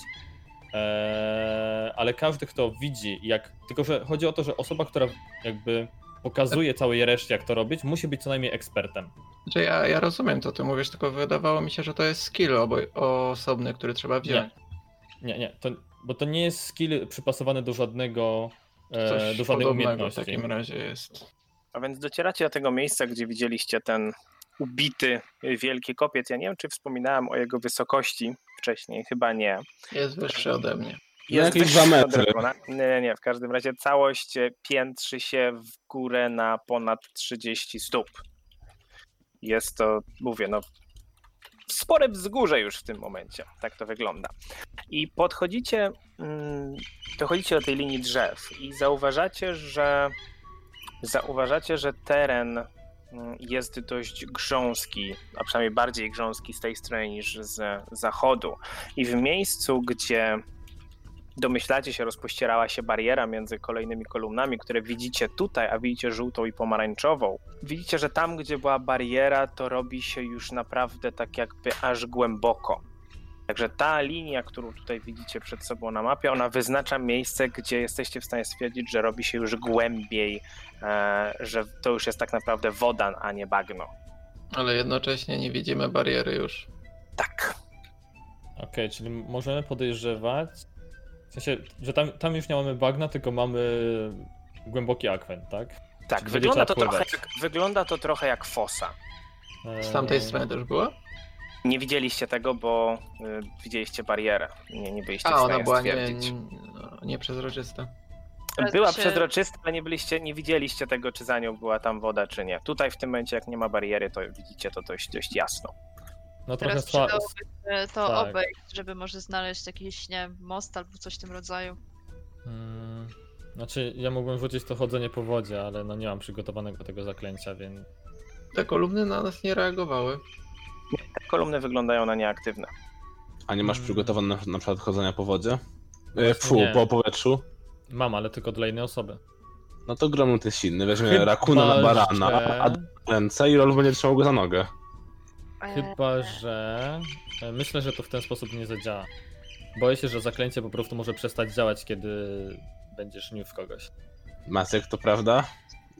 [SPEAKER 1] e, ale każdy, kto widzi, jak, tylko że chodzi o to, że osoba, która jakby pokazuje całej reszcie jak to robić, musi być co najmniej ekspertem.
[SPEAKER 3] Znaczy ja, ja rozumiem to, ty mówisz, tylko wydawało mi się, że to jest skill obo- osobny, który trzeba wziąć.
[SPEAKER 1] Nie, nie, to, bo to nie jest skill przypasowany do żadnego, e,
[SPEAKER 3] Coś
[SPEAKER 1] do żadnej
[SPEAKER 3] podobnego w
[SPEAKER 1] umiejętności.
[SPEAKER 3] takim razie jest.
[SPEAKER 2] A więc docieracie do tego miejsca, gdzie widzieliście ten ubity y, wielki kopiec. Ja nie wiem, czy wspominałem o jego wysokości wcześniej, chyba nie.
[SPEAKER 3] Jest wyższy ode mnie.
[SPEAKER 5] No Jakieś
[SPEAKER 2] wyższy
[SPEAKER 5] dwa
[SPEAKER 2] od
[SPEAKER 5] metry.
[SPEAKER 2] Dragona. tak? Nie, nie, nie. W każdym razie całość e, piętrzy się w górę na ponad 30 stóp. Jest to, mówię, no spore wzgórze już w tym momencie. Tak to wygląda. I podchodzicie, mm, dochodzicie do tej linii drzew i zauważacie, że zauważacie, że teren mm, jest dość grząski, a przynajmniej bardziej grząski z tej strony niż z zachodu. I w miejscu, gdzie domyślacie się, rozpościerała się bariera między kolejnymi kolumnami, które widzicie tutaj, a widzicie żółtą i pomarańczową. Widzicie, że tam, gdzie była bariera, to robi się już naprawdę tak jakby aż głęboko. Także ta linia, którą tutaj widzicie przed sobą na mapie, ona wyznacza miejsce, gdzie jesteście w stanie stwierdzić, że robi się już głębiej, e, że to już jest tak naprawdę wodan, a nie bagno.
[SPEAKER 3] Ale jednocześnie nie widzimy bariery już.
[SPEAKER 2] Tak.
[SPEAKER 1] Okej, czyli możemy podejrzewać, w sensie, że tam, tam już nie mamy bagna, tylko mamy głęboki akwen, tak?
[SPEAKER 2] Tak,
[SPEAKER 1] Czyli
[SPEAKER 2] wygląda to,
[SPEAKER 1] będzie trzeba
[SPEAKER 2] trochę
[SPEAKER 1] pływać.
[SPEAKER 2] jak, wygląda to trochę jak fosa.
[SPEAKER 1] E,
[SPEAKER 3] Z tamtej strony też była?
[SPEAKER 2] Nie widzieliście tego, bo y, widzieliście barierę. Nie, nie byliście w
[SPEAKER 3] A, ona
[SPEAKER 2] stanie
[SPEAKER 3] była nie,
[SPEAKER 2] stwierdzić.
[SPEAKER 3] no, nieprzezroczysta.
[SPEAKER 2] Była
[SPEAKER 4] Się-
[SPEAKER 2] przezroczysta, ale nie byliście, nie widzieliście tego, czy za nią była tam woda, czy nie. Tutaj w tym momencie, jak nie ma bariery, to widzicie to dość, dość jasno.
[SPEAKER 1] No trochę
[SPEAKER 4] Teraz
[SPEAKER 1] sła...
[SPEAKER 4] przydałoby się to
[SPEAKER 1] tak.
[SPEAKER 4] obejść, żeby może znaleźć jakiś, nie wiem, most albo coś w tym rodzaju.
[SPEAKER 1] Mm, Znaczy, ja mógłbym rzucić to chodzenie po wodzie, ale no nie mam przygotowanego tego zaklęcia, więc...
[SPEAKER 3] Te kolumny na nas nie reagowały.
[SPEAKER 2] Te kolumny wyglądają na nieaktywne.
[SPEAKER 5] A nie masz
[SPEAKER 1] Mm.
[SPEAKER 5] przygotowane na, na przykład chodzenia po wodzie? E,
[SPEAKER 1] Właśnie
[SPEAKER 5] Fu,
[SPEAKER 1] nie.
[SPEAKER 5] po powietrzu?
[SPEAKER 1] Mam, ale tylko dla innej osoby.
[SPEAKER 5] No to gromu ty silny, weźmie
[SPEAKER 1] Chyba,
[SPEAKER 5] rakuna na barana,
[SPEAKER 1] że-
[SPEAKER 5] a w ręce i Rolf będzie trzymał go za nogę.
[SPEAKER 4] E,
[SPEAKER 1] Chyba, że. e, Myślę, że to w ten sposób nie zadziała. Boję się, że zaklęcie po prostu może przestać działać, kiedy będziesz niósł kogoś.
[SPEAKER 5] Maciek, to prawda?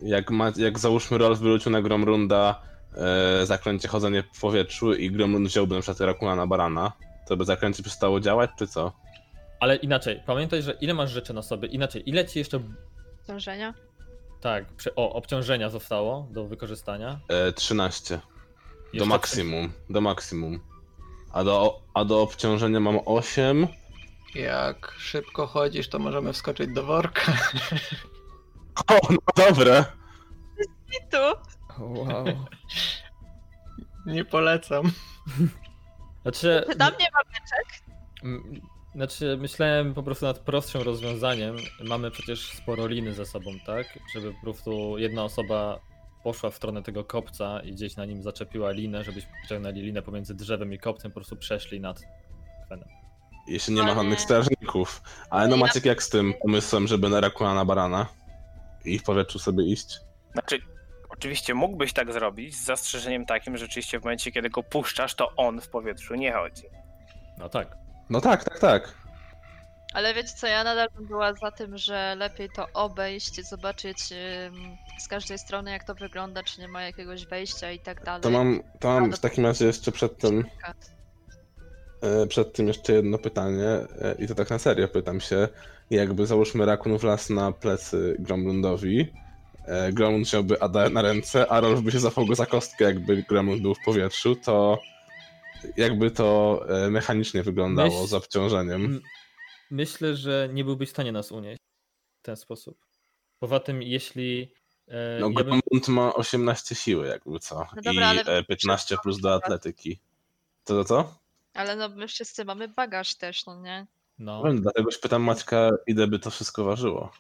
[SPEAKER 5] Jak, ma, jak załóżmy Rolf wyrzucił na Gromrunda e, zaklęcie chodzenie w powietrzu i Gromrund wziąłby na przykład rakuna na barana, to by zaklęcie przestało działać, czy co?
[SPEAKER 1] Ale inaczej, pamiętaj, że ile masz rzeczy na sobie, inaczej, ile ci jeszcze.
[SPEAKER 4] Dążenia?
[SPEAKER 1] Tak, przy... o, obciążenia zostało do wykorzystania.
[SPEAKER 5] E, 13. Do
[SPEAKER 1] Jeszcze
[SPEAKER 5] maksimum, do maksimum. A do, a do obciążenia mam 8.
[SPEAKER 3] Jak szybko chodzisz, to możemy wskoczyć do worka.
[SPEAKER 5] O, no dobre!
[SPEAKER 4] I tu!
[SPEAKER 3] Wow. Nie polecam.
[SPEAKER 1] Znaczy,
[SPEAKER 4] Czy tam nie ma
[SPEAKER 1] m- znaczy, myślałem po prostu nad prostszym rozwiązaniem. Mamy przecież sporo liny ze sobą, tak? Żeby po prostu jedna osoba poszła w stronę tego kopca i gdzieś na nim zaczepiła linę, żebyśmy ciągnęli linę pomiędzy drzewem i kopcem, po prostu przeszli nad
[SPEAKER 5] Jeśli nie
[SPEAKER 4] Ale-
[SPEAKER 5] ma żadnych strażników. Ale no
[SPEAKER 4] Ja-
[SPEAKER 5] Maciek jak z tym pomysłem, żeby narakła na barana i w powietrzu sobie iść?
[SPEAKER 2] Znaczy, oczywiście mógłbyś tak zrobić, z zastrzeżeniem takim, że rzeczywiście w momencie, kiedy go puszczasz, to on w powietrzu nie chodzi.
[SPEAKER 1] No tak.
[SPEAKER 5] No tak, tak, tak.
[SPEAKER 4] Ale wiecie co, ja nadal bym była za tym, że lepiej to obejść, zobaczyć ym, z każdej strony jak to wygląda, czy nie ma jakiegoś wejścia i tak dalej.
[SPEAKER 5] To mam, to mam w takim razie jeszcze przed tym, e, przed tym jeszcze jedno pytanie e, i to tak na serio pytam się. Jakby załóżmy rakun wlazł na plecy Gromlundowi, e, Gromlund wziąłby Ada na ręce, a Rolf by się zafał go za kostkę, jakby Gromlund był w powietrzu, to jakby to e, mechanicznie wyglądało
[SPEAKER 1] Myśl- Mm,
[SPEAKER 5] z obciążeniem.
[SPEAKER 1] Myślę, że nie byłbyś w stanie nas unieść w ten sposób. Poza tym, jeśli. E,
[SPEAKER 5] No,
[SPEAKER 1] ja bym,
[SPEAKER 5] Gromlund ma 18 siły, jakby co.
[SPEAKER 4] No dobra,
[SPEAKER 5] I
[SPEAKER 4] ale-
[SPEAKER 5] e, 15 plus do atletyki. To to co?
[SPEAKER 4] Ale no my wszyscy mamy bagaż też, no nie?
[SPEAKER 1] no,
[SPEAKER 5] No, Dlatego się pytam Maćka, ile by to wszystko ważyło.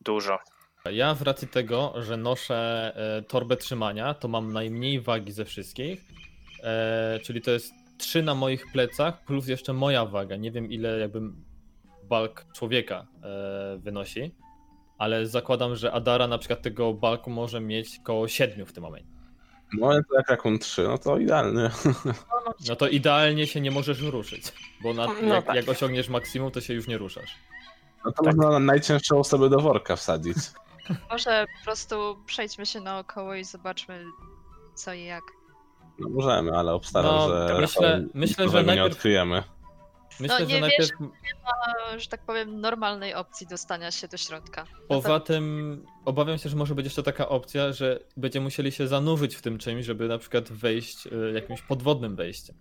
[SPEAKER 2] Dużo.
[SPEAKER 1] ja w racji tego, że noszę e, torbę trzymania, to mam najmniej wagi ze wszystkich. E, czyli to jest 3 na moich plecach, plus jeszcze moja waga. Nie wiem, ile jakby balk człowieka e, wynosi, ale zakładam, że Adara na przykład tego balku może mieć koło 7 w tym momencie.
[SPEAKER 5] No ale to jak Rakun 3, no to idealny.
[SPEAKER 1] No to idealnie się nie możesz ruszyć, bo na,
[SPEAKER 2] No
[SPEAKER 1] jak,
[SPEAKER 2] tak.
[SPEAKER 1] jak osiągniesz maksimum, to się już nie ruszasz.
[SPEAKER 5] No to można najcięższą osobę do worka wsadzić.
[SPEAKER 4] Może po prostu przejdźmy się naokoło i zobaczmy co i jak.
[SPEAKER 5] No możemy, ale obstawiam,
[SPEAKER 1] No,
[SPEAKER 5] że
[SPEAKER 1] myślę-
[SPEAKER 5] Rafał
[SPEAKER 1] myślę, że
[SPEAKER 5] nowego nie
[SPEAKER 1] najpierw-
[SPEAKER 5] odkryjemy.
[SPEAKER 1] Myślę,
[SPEAKER 4] nie
[SPEAKER 1] że najpierw
[SPEAKER 4] A, że tak powiem, normalnej opcji dostania się do środka.
[SPEAKER 1] poza tym obawiam się, że może być jeszcze taka opcja, że będziemy musieli się zanurzyć w tym czymś, żeby na przykład wejść y, jakimś podwodnym wejściem.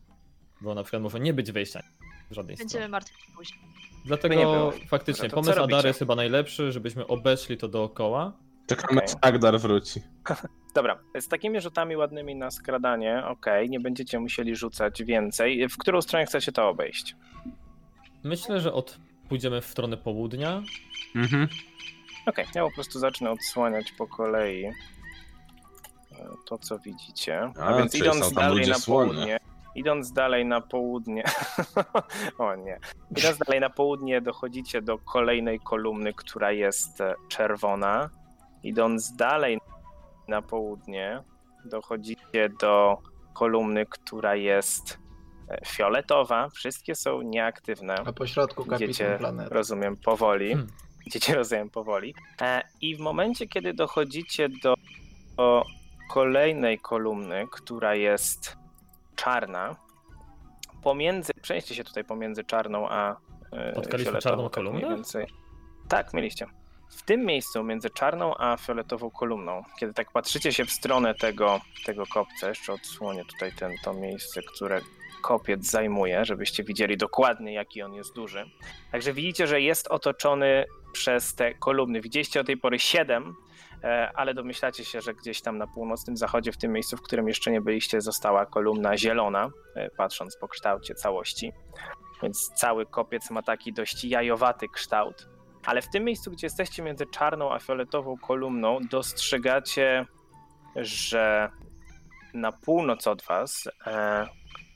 [SPEAKER 1] Bo na przykład może nie być wejścia w żadnej
[SPEAKER 4] Będziemy
[SPEAKER 1] strony.
[SPEAKER 4] martwić się później.
[SPEAKER 1] Dlatego
[SPEAKER 2] By nie było.
[SPEAKER 1] faktycznie
[SPEAKER 2] No to co
[SPEAKER 1] pomysł
[SPEAKER 2] robicie?
[SPEAKER 1] Adary jest chyba najlepszy, żebyśmy obeszli to dookoła.
[SPEAKER 5] Czekamy,
[SPEAKER 2] Okej.
[SPEAKER 5] aż Agdar wróci.
[SPEAKER 2] Dobra, z takimi rzutami ładnymi na skradanie, okej, nie będziecie musieli rzucać więcej. W którą stronę chcecie to obejść?
[SPEAKER 1] Myślę, że od pójdziemy w stronę południa.
[SPEAKER 5] Mhm.
[SPEAKER 2] Okej, ja po prostu zacznę odsłaniać po kolei e, to, co widzicie. A,
[SPEAKER 5] A,
[SPEAKER 2] więc
[SPEAKER 5] czyli
[SPEAKER 2] idąc
[SPEAKER 5] są tam
[SPEAKER 2] dalej
[SPEAKER 5] ludzie
[SPEAKER 2] na
[SPEAKER 5] słone.
[SPEAKER 2] południe, idąc dalej na południe, o nie, idąc dalej na południe dochodzicie do kolejnej kolumny, która jest e, czerwona. Idąc dalej na południe dochodzicie do kolumny, która jest e, fioletowa. Wszystkie są nieaktywne.
[SPEAKER 3] A po środku kapitan
[SPEAKER 2] Idziecie,
[SPEAKER 3] planety.
[SPEAKER 2] rozumiem, powoli.
[SPEAKER 1] Hmm.
[SPEAKER 2] Idziecie, rozumiem, powoli. E, I w momencie, kiedy dochodzicie do, do kolejnej kolumny, która jest czarna, pomiędzy, przejdźcie się tutaj pomiędzy czarną a e,
[SPEAKER 1] Spotkaliśmy
[SPEAKER 2] fioletową,
[SPEAKER 1] czarną
[SPEAKER 2] tak mniej
[SPEAKER 1] kolumnę?
[SPEAKER 2] Więcej. Tak, mieliście. W tym miejscu, między czarną a fioletową kolumną, kiedy tak patrzycie się w stronę tego, tego kopca, jeszcze odsłonię tutaj ten, to miejsce, które kopiec zajmuje, żebyście widzieli dokładnie, jaki on jest duży. Także widzicie, że jest otoczony przez te kolumny. Widzieliście o tej pory 7, E, ale domyślacie się, że gdzieś tam na północnym zachodzie, w tym miejscu, w którym jeszcze nie byliście, została kolumna zielona, e, patrząc po kształcie całości. Więc cały kopiec ma taki dość jajowaty kształt. Ale w tym miejscu, gdzie jesteście między czarną a fioletową kolumną, dostrzegacie, że na północ od was, e,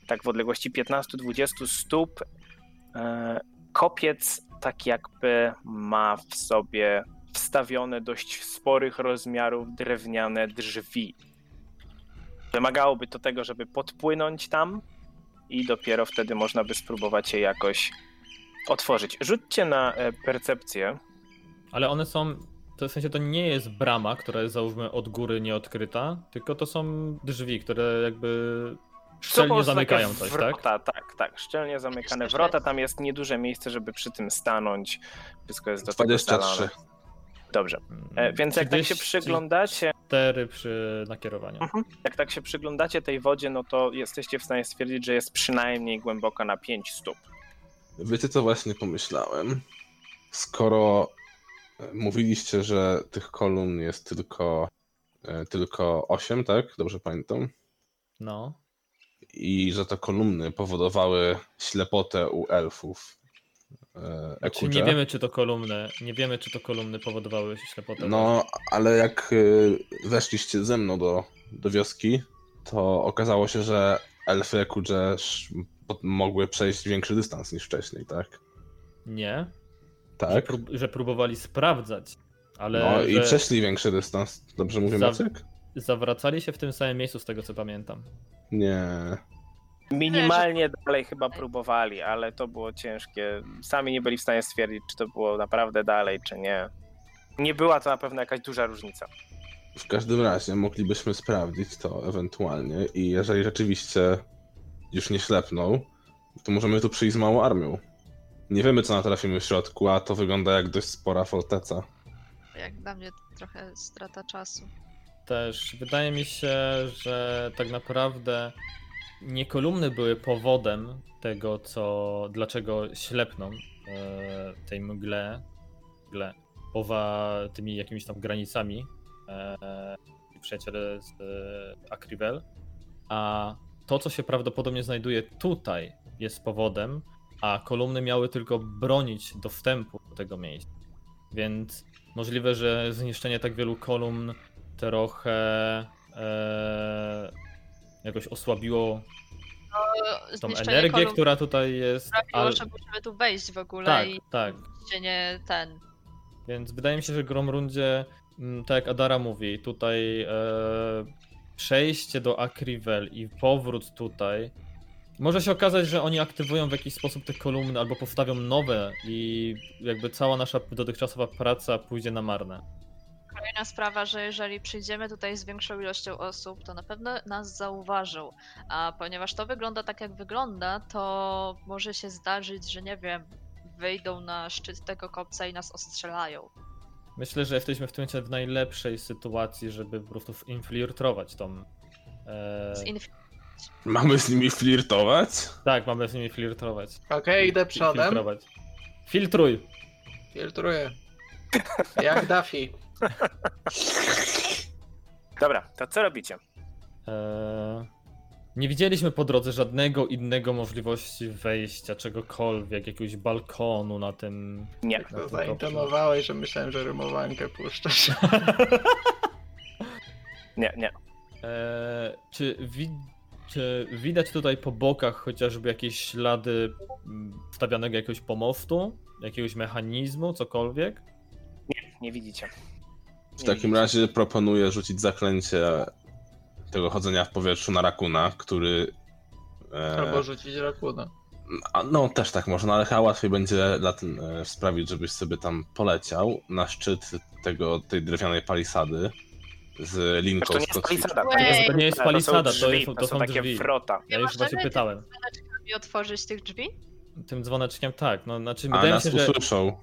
[SPEAKER 2] tak w odległości 15-20 stóp, e, kopiec tak jakby ma w sobie wstawione dość sporych rozmiarów drewniane drzwi. Wymagałoby to tego, żeby podpłynąć tam i dopiero wtedy można by spróbować je jakoś otworzyć. Rzućcie na e, percepcję.
[SPEAKER 1] Ale one są. To w sensie to nie jest brama, która jest załóżmy od góry nieodkryta, tylko to są drzwi, które jakby szczelnie
[SPEAKER 2] Są takie
[SPEAKER 1] zamykają coś, tak?
[SPEAKER 2] wrota, tak? Tak, tak. Szczelnie zamykane wrota. Tam jest nieduże miejsce, żeby przy tym stanąć. Wszystko jest do tego
[SPEAKER 5] 23.
[SPEAKER 2] zalane. Dobrze. E, więc jak tak się przyglądacie,
[SPEAKER 1] Cztery przy nakierowaniu.
[SPEAKER 2] jak tak się przyglądacie tej wodzie, no to jesteście w stanie stwierdzić, że jest przynajmniej głęboka na 5 stóp.
[SPEAKER 5] Wiecie co właśnie pomyślałem? Skoro e, mówiliście, że tych kolumn jest tylko, e, tylko 8, tak? Dobrze pamiętam?
[SPEAKER 1] No.
[SPEAKER 5] i że te kolumny powodowały ślepotę u elfów. E,
[SPEAKER 1] Znaczy,
[SPEAKER 5] Ekucze.
[SPEAKER 1] nie wiemy, czy to kolumny. Nie wiemy, czy to kolumny powodowały ślepotę.
[SPEAKER 5] No, ale jak y, weszliście ze mną do, do wioski, to okazało się, że elfy Ekudże sz- po- mogły przejść większy dystans niż wcześniej, tak?
[SPEAKER 1] Nie, Że,
[SPEAKER 5] Tak.
[SPEAKER 1] prób- że próbowali sprawdzać, ale
[SPEAKER 5] No i
[SPEAKER 1] że
[SPEAKER 5] przeszli większy dystans. Dobrze mówię,
[SPEAKER 1] Za-
[SPEAKER 5] Maciek?
[SPEAKER 1] zawracali się w tym samym miejscu, z tego co pamiętam.
[SPEAKER 5] Nie.
[SPEAKER 2] Minimalnie dalej chyba próbowali, ale to było ciężkie. Sami nie byli w stanie stwierdzić, czy to było naprawdę dalej, czy nie. Nie była to na pewno jakaś duża różnica.
[SPEAKER 5] W każdym razie moglibyśmy sprawdzić to ewentualnie i jeżeli rzeczywiście już nie ślepną, to możemy tu przyjść z małą armią. Nie wiemy, co natrafimy w środku, a to wygląda jak dość spora forteca.
[SPEAKER 4] Jak dla mnie to trochę strata czasu.
[SPEAKER 1] Też wydaje mi się, że tak naprawdę nie kolumny były powodem tego, co, dlaczego ślepną e, tej mgle, mgle powa tymi jakimiś tam granicami e, przyjaciele z e, Akrivel, a to, co się prawdopodobnie znajduje tutaj, jest powodem, a kolumny miały tylko bronić do wstępu do tego miejsca. Więc możliwe, że zniszczenie tak wielu kolumn trochę e, jakoś osłabiło
[SPEAKER 4] To
[SPEAKER 1] tą
[SPEAKER 4] Zniszczenie
[SPEAKER 1] energię,
[SPEAKER 4] kolumn
[SPEAKER 1] która tutaj jest.
[SPEAKER 4] sprawiło,
[SPEAKER 1] ale-
[SPEAKER 4] że musimy tu wejść w ogóle
[SPEAKER 1] tak,
[SPEAKER 4] i
[SPEAKER 1] tak.
[SPEAKER 4] się nie ten.
[SPEAKER 1] Więc wydaje mi się, że Gromrundzie, mm, tak jak Adara mówi, tutaj e, przejście do Akrivel i powrót tutaj. Może się okazać, że oni aktywują w jakiś sposób te kolumny albo powstawią nowe i jakby cała nasza dotychczasowa praca pójdzie na marne.
[SPEAKER 4] Kolejna sprawa, że jeżeli przyjdziemy tutaj z większą ilością osób, to na pewno nas zauważył. A ponieważ to wygląda tak, jak wygląda, to może się zdarzyć, że nie wiem, wyjdą na szczyt tego kopca i nas ostrzelają.
[SPEAKER 1] Myślę, że jesteśmy w tym momencie w najlepszej sytuacji, żeby po prostu infiltrować tą. E,
[SPEAKER 4] Zinf-
[SPEAKER 5] Mamy z nimi flirtować?
[SPEAKER 1] tak, mamy z nimi flirtować.
[SPEAKER 3] Okej, idę przodem.
[SPEAKER 1] Filtrować. Filtruj.
[SPEAKER 3] Filtruję. Jak Daffy.
[SPEAKER 2] Dobra, to co robicie?
[SPEAKER 1] Eee, nie widzieliśmy po drodze żadnego innego możliwości wejścia, czegokolwiek, jakiegoś balkonu na tym.
[SPEAKER 2] Nie.
[SPEAKER 1] na tym topie.
[SPEAKER 3] Zaintonowałeś, że myślałem, że rymowankę puszczasz.
[SPEAKER 2] Nie, nie.
[SPEAKER 1] Eee, czy, wi- czy widać tutaj po bokach chociażby jakieś ślady mm, wstawianego jakiegoś pomostu, jakiegoś mechanizmu, cokolwiek?
[SPEAKER 2] Nie widzicie.
[SPEAKER 5] W
[SPEAKER 2] Nie
[SPEAKER 5] takim
[SPEAKER 2] widzicie.
[SPEAKER 5] razie proponuję rzucić zaklęcie tego chodzenia w powietrzu na rakuna, który. E,
[SPEAKER 3] Albo rzucić rakuna.
[SPEAKER 5] a, no, też tak można, ale chyba łatwiej będzie dla ten, e, sprawić, żebyś sobie tam poleciał na szczyt tego, tej drewnianej palisady z linką
[SPEAKER 2] Zresztą to nie jest palisada.
[SPEAKER 5] kotwicą.
[SPEAKER 4] Ej.
[SPEAKER 2] jest
[SPEAKER 4] To
[SPEAKER 1] nie jest
[SPEAKER 2] palisada,
[SPEAKER 1] palisada,
[SPEAKER 2] są
[SPEAKER 1] to
[SPEAKER 2] drzwi,
[SPEAKER 1] jest-
[SPEAKER 2] to są takie
[SPEAKER 1] drzwi.
[SPEAKER 2] wrota.
[SPEAKER 1] Ja już
[SPEAKER 4] możemy
[SPEAKER 1] właśnie pytałem.
[SPEAKER 4] I otworzyć tych drzwi?
[SPEAKER 1] Tym dzwoneczkiem tak, no znaczy
[SPEAKER 5] A
[SPEAKER 1] wydaje mi
[SPEAKER 5] nas
[SPEAKER 1] się, że
[SPEAKER 5] usłyszą.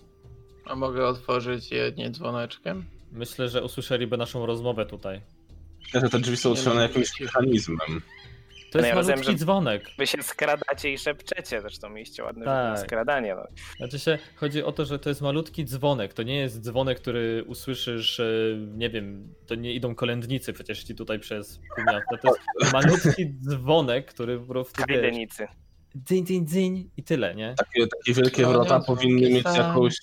[SPEAKER 3] A mogę otworzyć je nie dzwoneczkiem?
[SPEAKER 1] myślę, że usłyszeliby naszą rozmowę tutaj.
[SPEAKER 5] Myślę, że te drzwi są
[SPEAKER 3] Nie
[SPEAKER 5] usłyszone
[SPEAKER 3] mam
[SPEAKER 5] jakimś
[SPEAKER 3] pojęcia.
[SPEAKER 5] mechanizmem.
[SPEAKER 1] To jest
[SPEAKER 2] No ja rozumiem,
[SPEAKER 1] malutki
[SPEAKER 2] że-
[SPEAKER 1] dzwonek.
[SPEAKER 2] Wy się skradacie i szepczecie, zresztą mieliście ładne rzut na
[SPEAKER 1] Tak.
[SPEAKER 2] skradanie. No.
[SPEAKER 1] Znaczy się, chodzi o to, że to jest malutki dzwonek. To nie jest dzwonek, który usłyszysz, e, nie wiem, to nie idą kolędnicy przecież ci tutaj przez pół dnia. To jest malutki dzwonek, który po prostu wiesz,
[SPEAKER 2] Kajdenicy.
[SPEAKER 1] dzyń, dzyń, dzyń i tyle, nie?
[SPEAKER 5] Takie, takie wielkie
[SPEAKER 3] No,
[SPEAKER 5] wrota
[SPEAKER 3] nie,
[SPEAKER 5] powinny
[SPEAKER 3] zamki
[SPEAKER 5] mieć
[SPEAKER 3] są.
[SPEAKER 5] jakąś.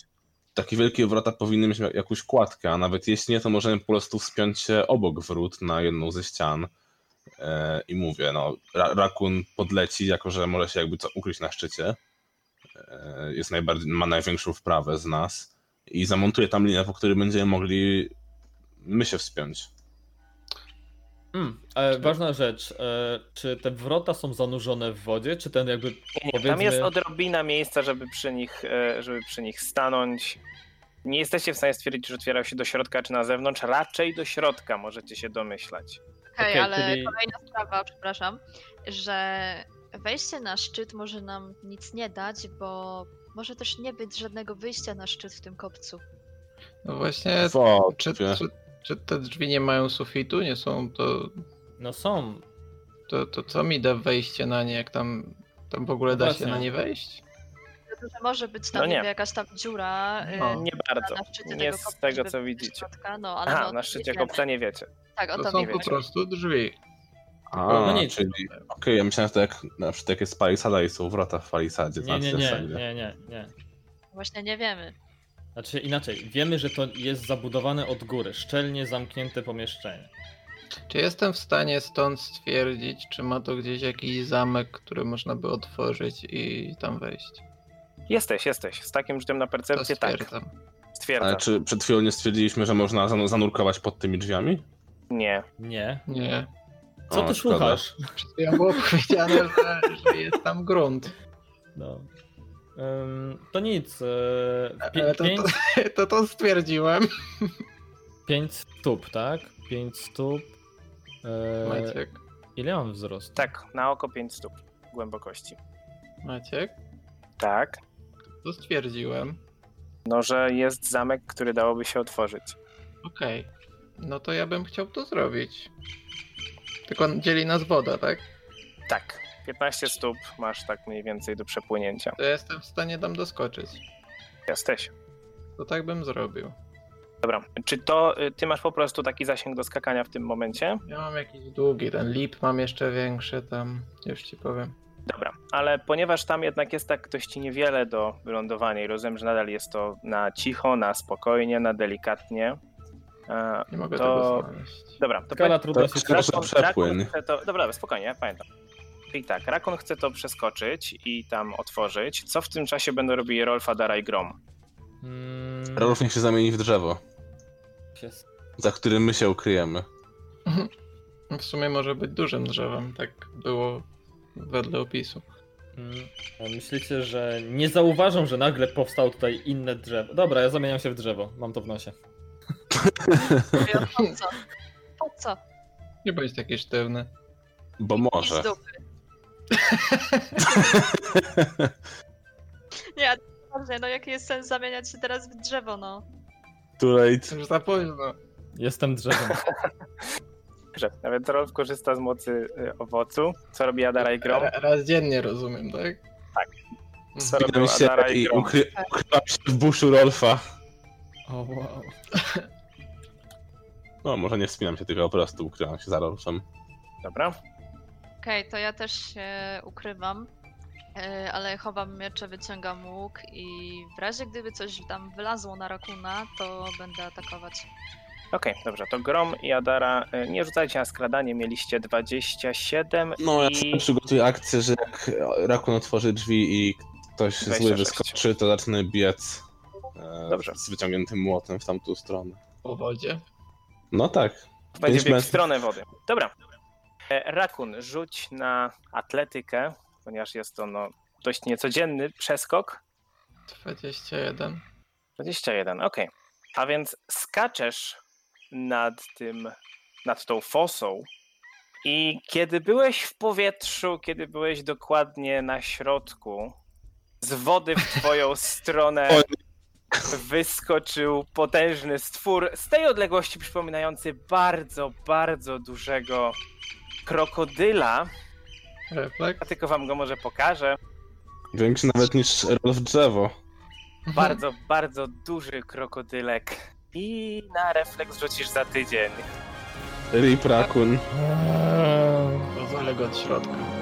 [SPEAKER 5] Takie wielkie wrota powinny mieć jak- jakąś kładkę, a nawet jeśli nie, to możemy po prostu wspiąć się obok wrót na jedną ze ścian. E, I mówię, no, ra, rakun podleci, jako że może się jakby co ukryć na szczycie. E, jest najbardziej, ma największą wprawę z nas. I zamontuje tam linię, po której będziemy mogli my się wspiąć.
[SPEAKER 1] Mm, e, ważna rzecz, e, czy te wrota są zanurzone w wodzie, czy ten jakby
[SPEAKER 2] Nie, nie, tam
[SPEAKER 1] Powiedzmy-
[SPEAKER 2] jest odrobina miejsca, żeby przy nich, e, żeby przy nich stanąć. Nie jesteście w stanie stwierdzić, że otwierał się do środka czy na zewnątrz. Raczej do środka możecie się domyślać.
[SPEAKER 4] Okej,
[SPEAKER 1] Okej,
[SPEAKER 4] ale
[SPEAKER 1] czyli-
[SPEAKER 4] kolejna sprawa, przepraszam, że wejście na szczyt może nam nic nie dać, bo może też nie być żadnego wyjścia na szczyt w tym kopcu.
[SPEAKER 3] No właśnie, czy,
[SPEAKER 5] Wątpię.
[SPEAKER 3] czy, czy te drzwi nie mają sufitu? Nie są, to,
[SPEAKER 1] no są,
[SPEAKER 3] to, to co mi da wejście na nie, jak tam, tam w ogóle da się
[SPEAKER 1] Właśnie.
[SPEAKER 3] na nie wejść?
[SPEAKER 4] Dlatego, że może być tam
[SPEAKER 2] No nie.
[SPEAKER 4] niby jakaś tam dziura y,
[SPEAKER 3] No.
[SPEAKER 2] Nie bardzo.
[SPEAKER 4] na szczycie
[SPEAKER 2] Nie
[SPEAKER 4] tego
[SPEAKER 2] z
[SPEAKER 4] kopca,
[SPEAKER 2] tego,
[SPEAKER 4] żeby
[SPEAKER 2] co
[SPEAKER 4] wejść do
[SPEAKER 2] widzicie.
[SPEAKER 4] Środka, no, ale no,
[SPEAKER 2] Aha,
[SPEAKER 4] to
[SPEAKER 2] na
[SPEAKER 4] nie
[SPEAKER 2] szczycie
[SPEAKER 4] wiemy.
[SPEAKER 2] kopca nie wiecie.
[SPEAKER 4] Tak, o
[SPEAKER 3] To
[SPEAKER 4] to
[SPEAKER 3] są
[SPEAKER 4] nie
[SPEAKER 3] po
[SPEAKER 4] wiemy.
[SPEAKER 3] prostu drzwi.
[SPEAKER 5] A,
[SPEAKER 1] no nic.
[SPEAKER 5] czyli. Okej, ja myślałem, że to jak na przykład jak jest palisada i są wrota w palisadzie. to
[SPEAKER 1] nie,
[SPEAKER 5] znaczy,
[SPEAKER 1] nie,
[SPEAKER 5] że
[SPEAKER 1] nie,
[SPEAKER 5] wszędzie.
[SPEAKER 1] nie, nie, nie.
[SPEAKER 4] Właśnie nie wiemy.
[SPEAKER 1] Znaczy inaczej, wiemy, że to jest zabudowane od góry, szczelnie zamknięte pomieszczenie.
[SPEAKER 3] Czy jestem w stanie stąd stwierdzić, czy ma to gdzieś jakiś zamek, który można by otworzyć i tam wejść?
[SPEAKER 2] Jesteś, jesteś. Z takim rzutem na
[SPEAKER 3] To
[SPEAKER 2] percepcję tak.
[SPEAKER 3] stwierdzam.
[SPEAKER 5] Ale
[SPEAKER 2] Stwierdzam.
[SPEAKER 5] czy przed chwilą nie stwierdziliśmy, że można zanu- zanurkować pod tymi drzwiami?
[SPEAKER 2] Nie.
[SPEAKER 1] Nie.
[SPEAKER 3] Nie.
[SPEAKER 1] Co
[SPEAKER 5] O,
[SPEAKER 1] ty
[SPEAKER 5] szkoda.
[SPEAKER 1] słuchasz?
[SPEAKER 3] Przed chwilą było powiedziane, że, że jest tam grunt.
[SPEAKER 1] No. Ym, to nic. Yy,
[SPEAKER 3] Ale
[SPEAKER 1] pi-
[SPEAKER 3] to,
[SPEAKER 1] pięć,
[SPEAKER 3] to, to to stwierdziłem.
[SPEAKER 1] pięć stóp, tak? Pięć stóp. Yy,
[SPEAKER 3] Maciek.
[SPEAKER 1] ile mam wzrostu?
[SPEAKER 2] Tak, na oko 5 stóp głębokości.
[SPEAKER 3] Maciek?
[SPEAKER 2] Tak.
[SPEAKER 3] To stwierdziłem.
[SPEAKER 2] No, że jest zamek, który dałoby się otworzyć.
[SPEAKER 3] Okej. No to ja bym chciał to zrobić. Tylko dzieli nas woda, tak?
[SPEAKER 2] Tak. 15 stóp masz tak mniej więcej do przepłynięcia.
[SPEAKER 3] To ja jestem w stanie tam doskoczyć.
[SPEAKER 2] Jesteś.
[SPEAKER 3] To tak bym zrobił.
[SPEAKER 2] Dobra. Czy to y, ty masz po prostu taki zasięg do skakania w tym momencie?
[SPEAKER 3] Ja mam jakiś długi, ten lip mam jeszcze większy tam, już ci powiem.
[SPEAKER 2] Dobra, ale ponieważ tam jednak jest tak dość niewiele do wylądowania i rozumiem, że nadal jest to na cicho, na spokojnie, na delikatnie. E,
[SPEAKER 3] Nie mogę
[SPEAKER 2] To-
[SPEAKER 3] tego znaleźć.
[SPEAKER 2] dobra, to
[SPEAKER 1] Skala
[SPEAKER 2] powiedz-
[SPEAKER 1] trudności.
[SPEAKER 5] Skala-
[SPEAKER 2] Rakon-
[SPEAKER 5] przepłyń.
[SPEAKER 2] Rakon chce to, dobra, dobra, spokojnie, ja pamiętam. I tak, Rakon chce to przeskoczyć i tam otworzyć. Co w tym czasie będą robili Rolfa, Dara i Grom?
[SPEAKER 1] Mm,
[SPEAKER 5] Rolf niech się zamieni w drzewo,
[SPEAKER 1] jest.
[SPEAKER 5] za którym my się ukryjemy.
[SPEAKER 3] No W sumie może być dużym drzewem, tak było wedle opisu.
[SPEAKER 1] Mm, a Myślicie, że nie zauważą, że nagle powstało tutaj inne drzewo. Dobra, ja zamieniam się w drzewo. Mam to w nosie.
[SPEAKER 4] Mówię, po co? Po co?
[SPEAKER 3] Nie bądź taki sztywny.
[SPEAKER 5] Bo
[SPEAKER 4] I
[SPEAKER 5] może.
[SPEAKER 4] z dupy. Nie, dobrze, no jaki jest sens zamieniać się teraz w drzewo, no?
[SPEAKER 5] Too late.
[SPEAKER 3] Już za późno.
[SPEAKER 1] Jestem drzewem.
[SPEAKER 2] Że nawet Rolf korzysta z mocy y, owocu. Co robi Adara i Grom?
[SPEAKER 5] E,
[SPEAKER 3] Ra- Raz dziennie rozumiem, tak?
[SPEAKER 2] Tak.
[SPEAKER 3] Mhm.
[SPEAKER 2] Sorry.
[SPEAKER 5] Zbieram się
[SPEAKER 2] Adara i
[SPEAKER 5] i
[SPEAKER 2] Grom.
[SPEAKER 5] ukry- ukrywam się w buszu Rolfa.
[SPEAKER 1] O wow.
[SPEAKER 5] No, może nie wspinam się, tylko po prostu ukrywam się za Rolfem.
[SPEAKER 2] Dobra.
[SPEAKER 4] Okej, to ja też się ukrywam, e, ale chowam miecze, wyciągam łuk i w razie gdyby coś tam wylazło na rakuna, to będę atakować.
[SPEAKER 2] Okej, dobrze, to Grom i Adara, y, nie rzucajcie na skradanie, mieliście 27
[SPEAKER 5] No, ja
[SPEAKER 2] i...
[SPEAKER 5] I... przygotuję akcję, że jak Rakun otworzy drzwi i ktoś zły
[SPEAKER 2] 26.
[SPEAKER 5] wyskoczy, to zacznę biec e,
[SPEAKER 2] Dobrze.
[SPEAKER 5] z wyciągniętym młotem w tamtą stronę.
[SPEAKER 3] Po wodzie.
[SPEAKER 5] No tak.
[SPEAKER 2] Będzie biegł
[SPEAKER 5] Pięć
[SPEAKER 2] w
[SPEAKER 5] metrów.
[SPEAKER 2] stronę wody. Dobra. E, Rakun, rzuć na atletykę, ponieważ jest to no, dość niecodzienny przeskok.
[SPEAKER 3] 21.
[SPEAKER 2] 21, okej. A więc skaczesz nad tym, nad tą fosą i kiedy byłeś w powietrzu, kiedy byłeś dokładnie na środku, z wody w twoją stronę
[SPEAKER 5] Oj.
[SPEAKER 2] wyskoczył potężny stwór z tej odległości przypominający bardzo, bardzo dużego krokodyla. Ja
[SPEAKER 3] Refleks.
[SPEAKER 2] tylko wam go może pokażę.
[SPEAKER 5] Większy nawet niż Rolf drzewo.
[SPEAKER 2] Bardzo, bardzo duży krokodylek. I na refleks rzucisz za tydzień.
[SPEAKER 5] Rip Rakun.
[SPEAKER 1] Eee.
[SPEAKER 3] Rozwalę go od środka.